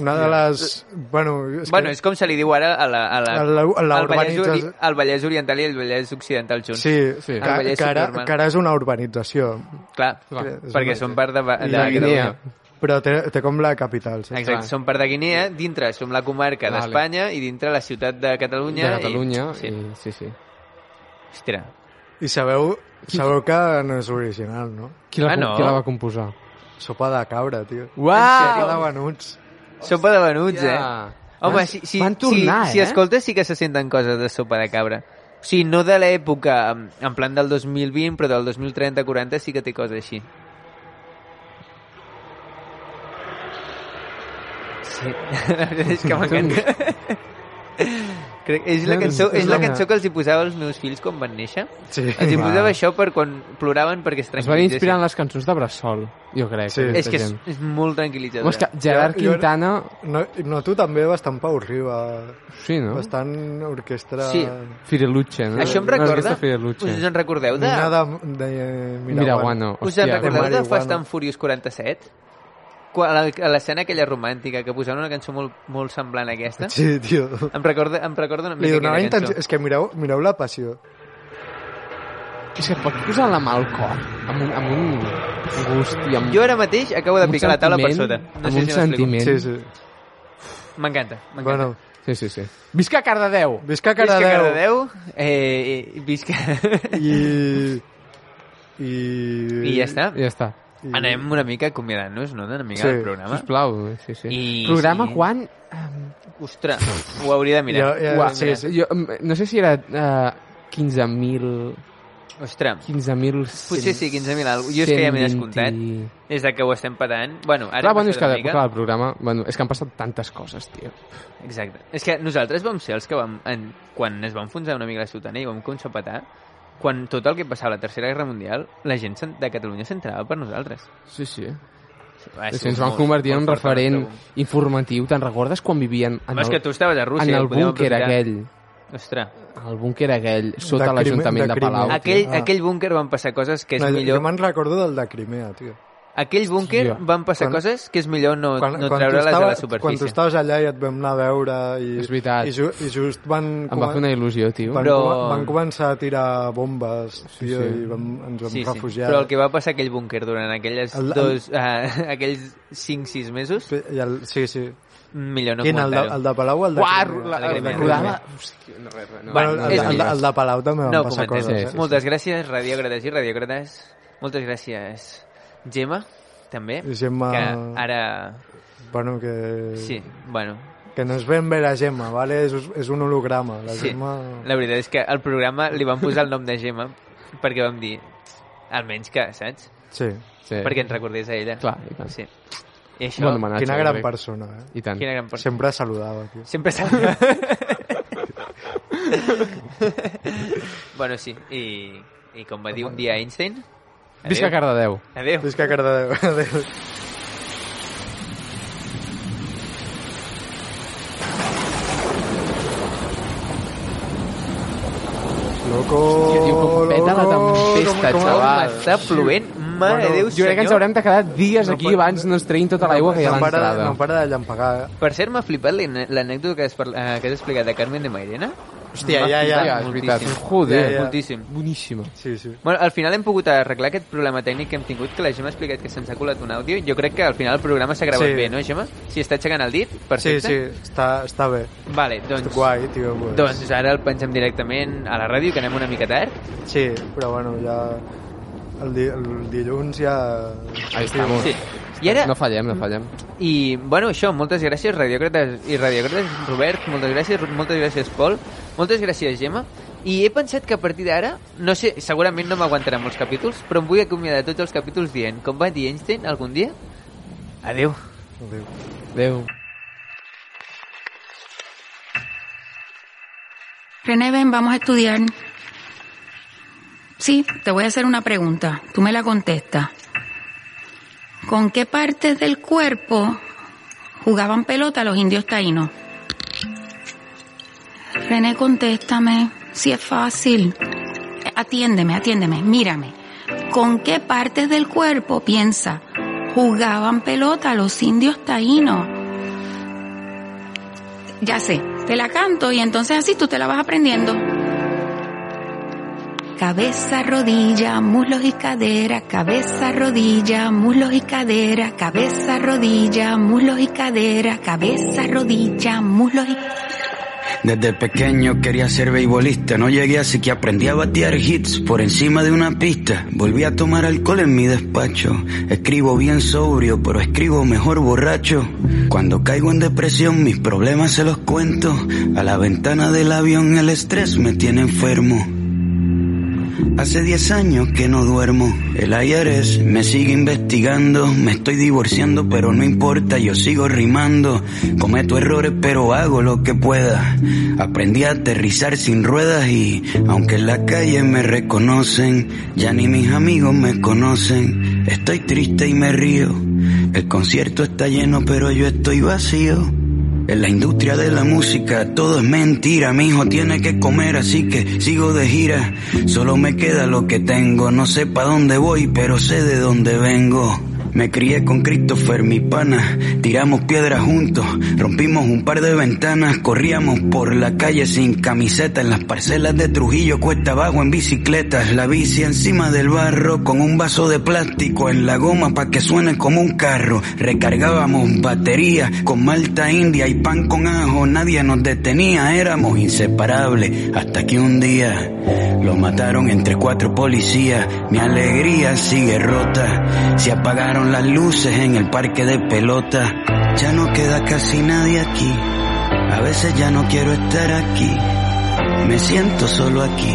S1: Una de les... Bueno,
S2: És
S1: és
S2: bueno,
S1: que-
S2: és com se li diu ara a la, a la,
S1: A la- a la
S2: al, Vallès Ori,
S1: urbanització.
S2: al Vallès Oriental i al Vallès Occidental junts.
S1: Sí,
S4: Sí.
S1: Que,
S2: El Vallès
S1: que, ara,
S2: Subnormal.
S1: que ara és una urbanització.
S2: Clar,
S4: Clar,
S1: és
S2: perquè
S1: una-
S2: són part de, de,
S1: I
S2: de
S1: la
S2: Catalunya.
S4: Guinea.
S1: Però té, té com la capital, saps?
S2: Exacte, són part de Guinea, dintre som la comarca
S4: Vale.
S2: d'Espanya i dintre la ciutat de Catalunya.
S4: de Catalunya.
S2: I... Sí.
S4: I, sí, sí.
S2: Ostres,
S1: I sabeu, sabeu que no és original, no?
S4: Qui la,
S2: Ah,
S4: com-
S2: no?
S4: qui la va composar?
S1: Sopa de cabra, tio.
S2: Ah!
S4: Uau!
S1: Sopa de venuts.
S2: sopa de venuts, eh? Home,
S4: Van-
S2: si, si,
S4: van tornar,
S2: si, si
S4: eh?
S2: escoltes sí que se senten coses de sopa de cabra. O sigui, no de l'època, en- en plan del 2020, però del 2030-40 sí que té coses així. Sí, la veritat és que
S4: Doncs,
S2: m'encanta. Crec, és, la cançó, és la cançó que els hi posava als meus fills quan van néixer.
S1: Sí.
S2: Els hi posava això per quan ploraven perquè es
S4: Es van
S2: tranquil·litzessin.
S4: inspirar en les cançons de Bressol, jo crec.
S1: Sí.
S2: És
S4: aquesta
S2: que és,
S4: gent.
S2: és molt tranquil·litzadora.
S4: Home, és que Gerard
S1: Jo- jo-
S4: Quintana...
S1: No, no, tu també bastant Pau Riba.
S4: Sí, no?
S1: Bastant orquestra...
S2: Sí.
S4: Fireluche, no?
S2: Això em
S4: Una
S2: recorda...
S4: orquestra Fireluche.
S2: Us en recordeu de...
S1: Mina de, de Miraguano.
S4: Miraguano,
S2: Us en
S4: hòstia.
S2: recordeu de
S1: Marihuana.
S2: Fast and Furious 47? quan- a l'escena aquella romàntica que posava una cançó molt, molt semblant a aquesta,
S1: Sí, tio.
S2: em recorda, em recorda una
S1: Li
S2: mica
S1: donava
S2: aquella
S1: intenció...
S2: cançó.
S1: És que mireu, mireu la passió.
S4: És que et pots posar la mà al cor, amb un, amb un gust i amb...
S2: Jo ara mateix acabo de
S4: amb un
S2: picar la taula per sota.
S4: sentiment,
S2: No
S4: amb
S2: sé si
S4: un
S2: m'explico.
S4: sentiment.
S1: Sí, sí.
S2: M'encanta, m'encanta.
S1: Bueno,
S4: Sí, sí, sí. Visca Cardedeu!
S1: visca
S2: Visca
S1: Cardedeu.
S2: Cardedeu, eh, eh, visca...
S1: I... I...
S2: I ja està.
S4: Ja està.
S1: I-
S2: Anem una mica acomiadant-nos, no?, una mica
S1: Sí,
S2: del programa.
S4: Sisplau, sí, sí.
S2: I-
S4: Programa
S2: sí.
S4: quan?
S2: Ostres, ho hauria de mirar.
S1: Ja, ja,
S4: Uah,
S1: sí, sí.
S4: Jo, eh, em, no sé si era eh, 15.000...
S2: Ostres,
S4: 15.000...
S2: Potser sí, 15.000 algo. Jo és que ja m'he descomptat. des de que ho estem petant... Bueno, ara
S4: Ara clar,
S2: hem
S4: bueno, és que
S2: passat
S4: de clar, el programa... Bueno, és que han passat tantes coses, tio.
S2: Exacte. És que nosaltres vam ser els que vam... En, quan es va enfonsar una mica la ciutadania i vam començar a petar, quan tot el que passava a la Tercera Guerra Mundial, la gent s'en- de Catalunya s'entrava per nosaltres.
S4: Sí, sí.
S2: Va,
S4: sí ens van convertir en un referent informatiu. Te'n recordes quan vivien en
S2: Però és que tu estaves a Rússia.
S4: en
S2: ho
S4: el
S2: podem
S4: búnquer
S2: aprofitar.
S4: aquell?
S2: Ostres.
S4: El búnquer aquell, sota
S1: Crimea-
S4: l'Ajuntament
S1: de
S4: de, Palau.
S1: Crimea.
S4: tio.
S2: Aquell,
S1: Ah.
S2: aquell búnquer van passar coses que és
S1: No, jo-
S2: millor...
S1: Jo me'n recordo del de Crimea, tio.
S2: Aquell búnquer
S4: Hòstia.
S2: van passar
S1: Quan-
S2: coses que és millor no, no
S1: tu
S2: treure-les a
S1: estava-
S2: la
S1: quan tu
S2: superfície.
S1: estaves allà i et vam anar a veure i,
S4: És veritat.
S1: i, ju, i just van,
S4: Em va fer una il·lusió, tio.
S1: van,
S2: Però-
S1: coma- van començar a tirar bombes tio,
S4: sí.
S1: i vam, ens vam
S2: Sí, sí.
S1: refugiar
S2: Però el que va passar a aquell búnquer durant aquelles
S1: El- el-
S2: dos, eh, aquells 5-6 mesos,
S1: I el, sí, sí.
S2: millor no
S1: Quin, el de,
S2: comentar-ho.
S1: el de Palau o el de
S4: Uah,
S1: Crimea?
S4: la,
S2: la-
S1: El de Crimea.
S4: rodava... Hòstia, no, res, res, no,
S1: Bueno,
S2: Bueno,
S1: el,
S2: és
S1: el, de-
S2: igual.
S1: el de Palau també van
S2: No
S1: passar
S2: comentem.
S1: coses.
S4: Sí,
S1: eh?
S4: sí.
S2: Moltes gràcies, radiòcrates i radiòcrates. Moltes gràcies, Gemma, també.
S1: Gemma-
S2: Que ara...
S1: Bueno, que,
S2: Sí, bueno.
S1: que no es ven bé la Gemma, ¿vale? és, és un holograma. La
S2: Sí.
S1: Gemma...
S2: La veritat és que al programa li van posar el nom de Gemma perquè vam dir, almenys que, saps?
S1: Sí.
S4: Sí.
S2: Perquè ens recordés a ella.
S4: Clar, i tant.
S2: Sí. I
S4: Un
S2: això...
S4: bon homenatge.
S1: Quina gran
S4: crec.
S1: persona, eh?
S4: I tant.
S2: Quina gran persona.
S1: Sempre saludava, tio.
S2: Sempre s'ha... bueno, sí, i, i com va dir un dia Einstein...
S4: Visca
S2: adeu.
S4: Cardedeu.
S2: Adeu.
S1: Visca Cardedeu. Adéu.
S4: Tio, tio,
S1: Loco,
S4: com peta la tempesta,
S1: com- com-
S4: xaval.
S2: Està plovent, mare de
S1: Bueno,
S2: Déu,
S4: Jo crec que ens
S2: senyor.
S4: haurem de quedar dies
S1: No
S4: aquí
S1: pot-
S4: abans no ens treguin tota l'aigua que hi ha a
S1: no para,
S4: l'entrada.
S1: no para de eh. llampegar.
S2: Per cert, m'ha flipat l'ane- l'anècdota que, has parla- eh, que has explicat de Carmen de Mairena.
S1: Hòstia,
S2: M'ha
S1: ja, ja.
S2: flipat
S4: Ja, és veritat.
S2: moltíssim.
S4: Joder.
S1: Ja, ja.
S2: Moltíssim.
S4: Boníssima.
S1: Sí, sí.
S2: Bueno, al final hem pogut arreglar aquest problema tècnic que hem tingut, que la Gemma ha explicat que se'ns ha colat un àudio. Jo crec que al final el programa s'ha gravat
S1: Sí.
S2: bé, no, Gemma? Si està aixecant el dit,
S1: Sí,
S2: perfecte.
S1: sí, està, està bé.
S2: Vale, doncs,
S1: Guai, tio. Pues.
S2: doncs ara el pengem directament a la ràdio, que anem una mica tard.
S1: Sí, però bueno, ja... El, di el dilluns ja...
S4: Ahí estamos.
S2: Sí. I ara,
S4: No fallem, no fallem.
S2: I, bueno, això, moltes gràcies, radiòcrates i radiòcrates, Robert, moltes gràcies, moltes gràcies, Pol, moltes gràcies, Gemma, i he pensat que a partir d'ara, no sé, segurament no m'aguantarà molts capítols, però em vull acomiadar tots els capítols dient, com va dir Einstein algun dia, adeu.
S1: Adéu.
S4: Adéu.
S6: René, ven, vamos a estudiar. Sí, te voy a hacer una pregunta. Tú me la contestas. ¿Con qué partes del cuerpo jugaban pelota los indios taínos? René, contéstame. Si es fácil. Atiéndeme, atiéndeme, mírame. ¿Con qué partes del cuerpo, piensa, jugaban pelota los indios taínos? Ya sé, te la canto y entonces así tú te la vas aprendiendo. Cabeza, rodilla, muslos y cadera, cabeza, rodilla, muslos y cadera, cabeza, rodilla, muslos y cadera, cabeza, rodilla, muslos y
S7: Desde pequeño quería ser beisbolista, no llegué así que aprendí a batear hits por encima de una pista. Volví a tomar alcohol en mi despacho, escribo bien sobrio, pero escribo mejor borracho. Cuando caigo en depresión mis problemas se los cuento, a la ventana del avión el estrés me tiene enfermo. Hace 10 años que no duermo. El IRS me sigue investigando. Me estoy divorciando, pero no importa, yo sigo rimando. Cometo errores, pero hago lo que pueda. Aprendí a aterrizar sin ruedas y, aunque en la calle me reconocen, ya ni mis amigos me conocen. Estoy triste y me río. El concierto está lleno, pero yo estoy vacío. En la industria de la música todo es mentira, mi hijo tiene que comer así que sigo de gira, solo me queda lo que tengo, no sé pa' dónde voy pero sé de dónde vengo. Me crié con Christopher, mi pana. Tiramos piedras juntos, rompimos un par de ventanas, corríamos por la calle sin camiseta. En las parcelas de Trujillo, cuesta abajo en bicicletas. La bici encima del barro con un vaso de plástico en la goma pa' que suene como un carro. Recargábamos batería con malta india y pan con ajo. Nadie nos detenía, éramos inseparables. Hasta que un día lo mataron entre cuatro policías. Mi alegría sigue rota. Se apagaron las luces en el parque de pelota. Ya no queda casi nadie aquí. A veces ya no quiero estar aquí. Me siento solo aquí,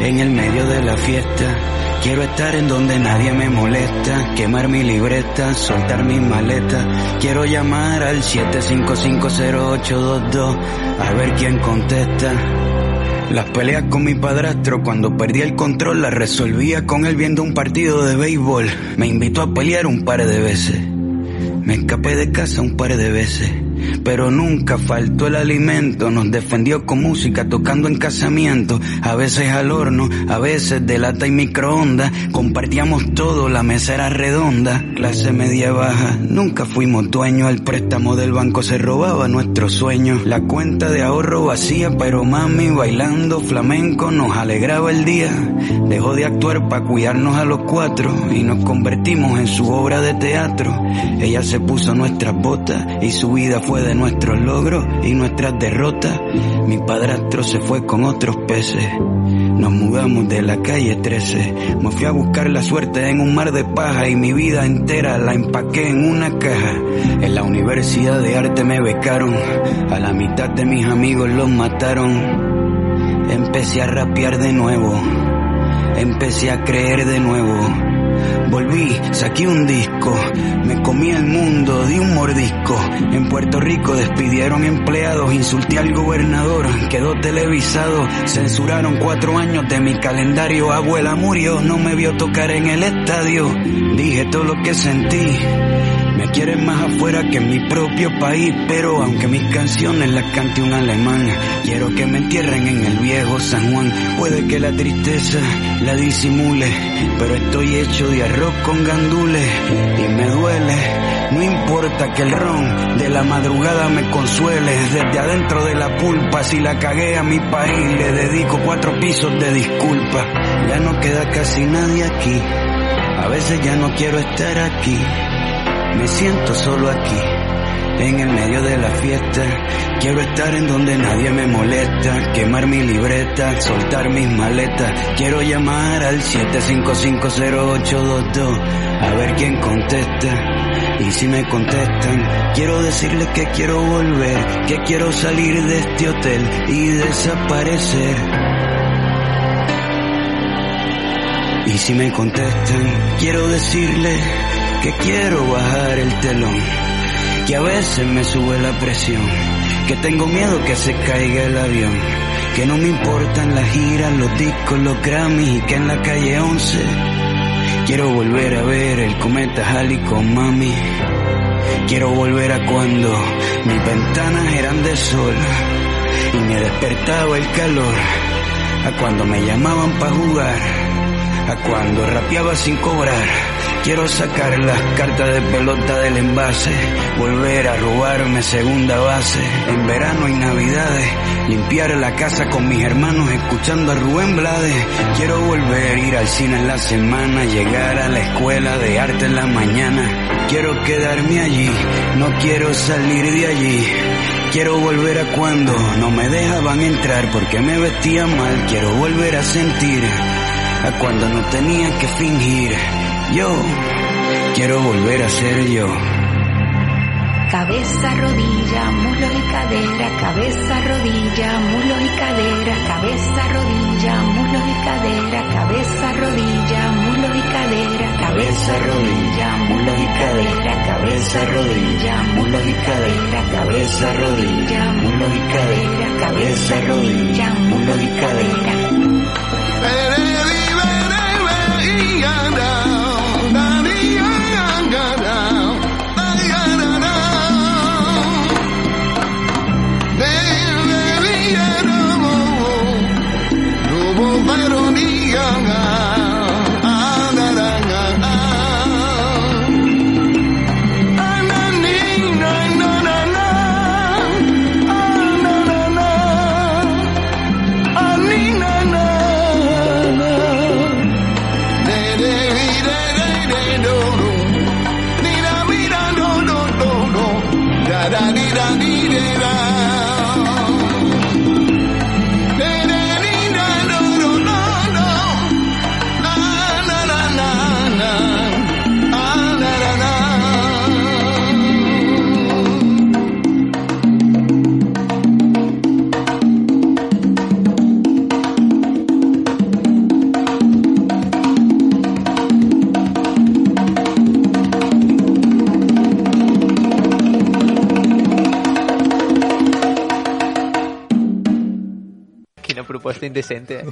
S7: en el medio de la fiesta. Quiero estar en donde nadie me molesta, quemar mi libreta, soltar mis maletas. Quiero llamar al 7550822 a ver quién contesta. Las peleas con mi padrastro cuando perdí el control las resolvía con él viendo un partido de béisbol. Me invitó a pelear un par de veces. Me escapé de casa un par de veces, pero nunca faltó el alimento. Nos defendió con música, tocando en casamiento, a veces al horno, a veces de lata y microondas. Compartíamos todo, la mesa era redonda, clase media baja. Nunca fuimos dueños, el préstamo del banco se robaba nuestros sueños. La cuenta de ahorro vacía, pero mami bailando flamenco nos alegraba el día. Dejó de actuar para cuidarnos a los cuatro y nos convertimos en su obra de teatro. Ella se puso nuestras botas y su vida fue de nuestros logros y nuestras derrotas. Mi padrastro se fue con otros peces. Nos mudamos de la calle 13. Me fui a buscar la suerte en un mar de paja y mi vida entera la empaqué en una caja. En la Universidad de Arte me becaron. A la mitad de mis amigos los mataron. Empecé a rapear de nuevo, empecé a creer de nuevo. Volví, saqué un disco, me comí el mundo, di un mordisco. En Puerto Rico despidieron empleados, insulté al gobernador, quedó televisado, censuraron cuatro años de mi calendario, abuela murió, no me vio tocar en el estadio, dije todo lo que sentí. Me quieren más afuera que en mi propio país, pero aunque mis canciones las cante un alemán, quiero que me entierren en el viejo San Juan. Puede que la tristeza la disimule, pero estoy hecho de arroz con gandules y me duele. No importa que el ron de la madrugada me consuele, desde adentro de la pulpa, si la cagué a mi país, le dedico cuatro pisos de disculpa. Ya no queda casi nadie aquí, a veces ya no quiero estar aquí. Me siento solo aquí, en el medio de la fiesta. Quiero estar en donde nadie me molesta, quemar mi libreta, soltar mis maletas. Quiero llamar al 7550822 a ver quién contesta. Y si me contestan, quiero decirles que quiero volver, que quiero salir de este hotel y desaparecer. Y si me contestan, quiero decirles que quiero bajar el telón, que a veces me sube la presión, que tengo miedo que se caiga el avión, que no me importan las giras, los discos, los Grammys y que en la calle 11 quiero volver a ver el cometa Halley con mami. Quiero volver a cuando mis ventanas eran de sol y me despertaba el calor, a cuando me llamaban para jugar a cuando rapeaba sin cobrar. Quiero sacar las cartas de pelota del envase, volver a robarme segunda base, en verano y navidades, limpiar la casa con mis hermanos escuchando a Rubén Blades. Quiero volver a ir al cine en la semana, llegar a la escuela de arte en la mañana. Quiero quedarme allí, no quiero salir de allí. Quiero volver a cuando no me dejaban entrar porque me vestía mal. Quiero volver a sentir a cuando no tenía que fingir. Yo quiero volver a ser yo.
S6: Cabeza, rodilla, muslos y cadera, cabeza, rodilla, muslos y cadera, cabeza, rodilla, muslos y cadera, cabeza, rodilla, muslos y cadera, cabeza, rodilla, muslos y cadera, cabeza, rodilla, muslos y cadera, cabeza, rodilla, muslos y cadera, cabeza, rodilla, muslos y cadera.
S3: Veronica, Quina proposta indecente, eh?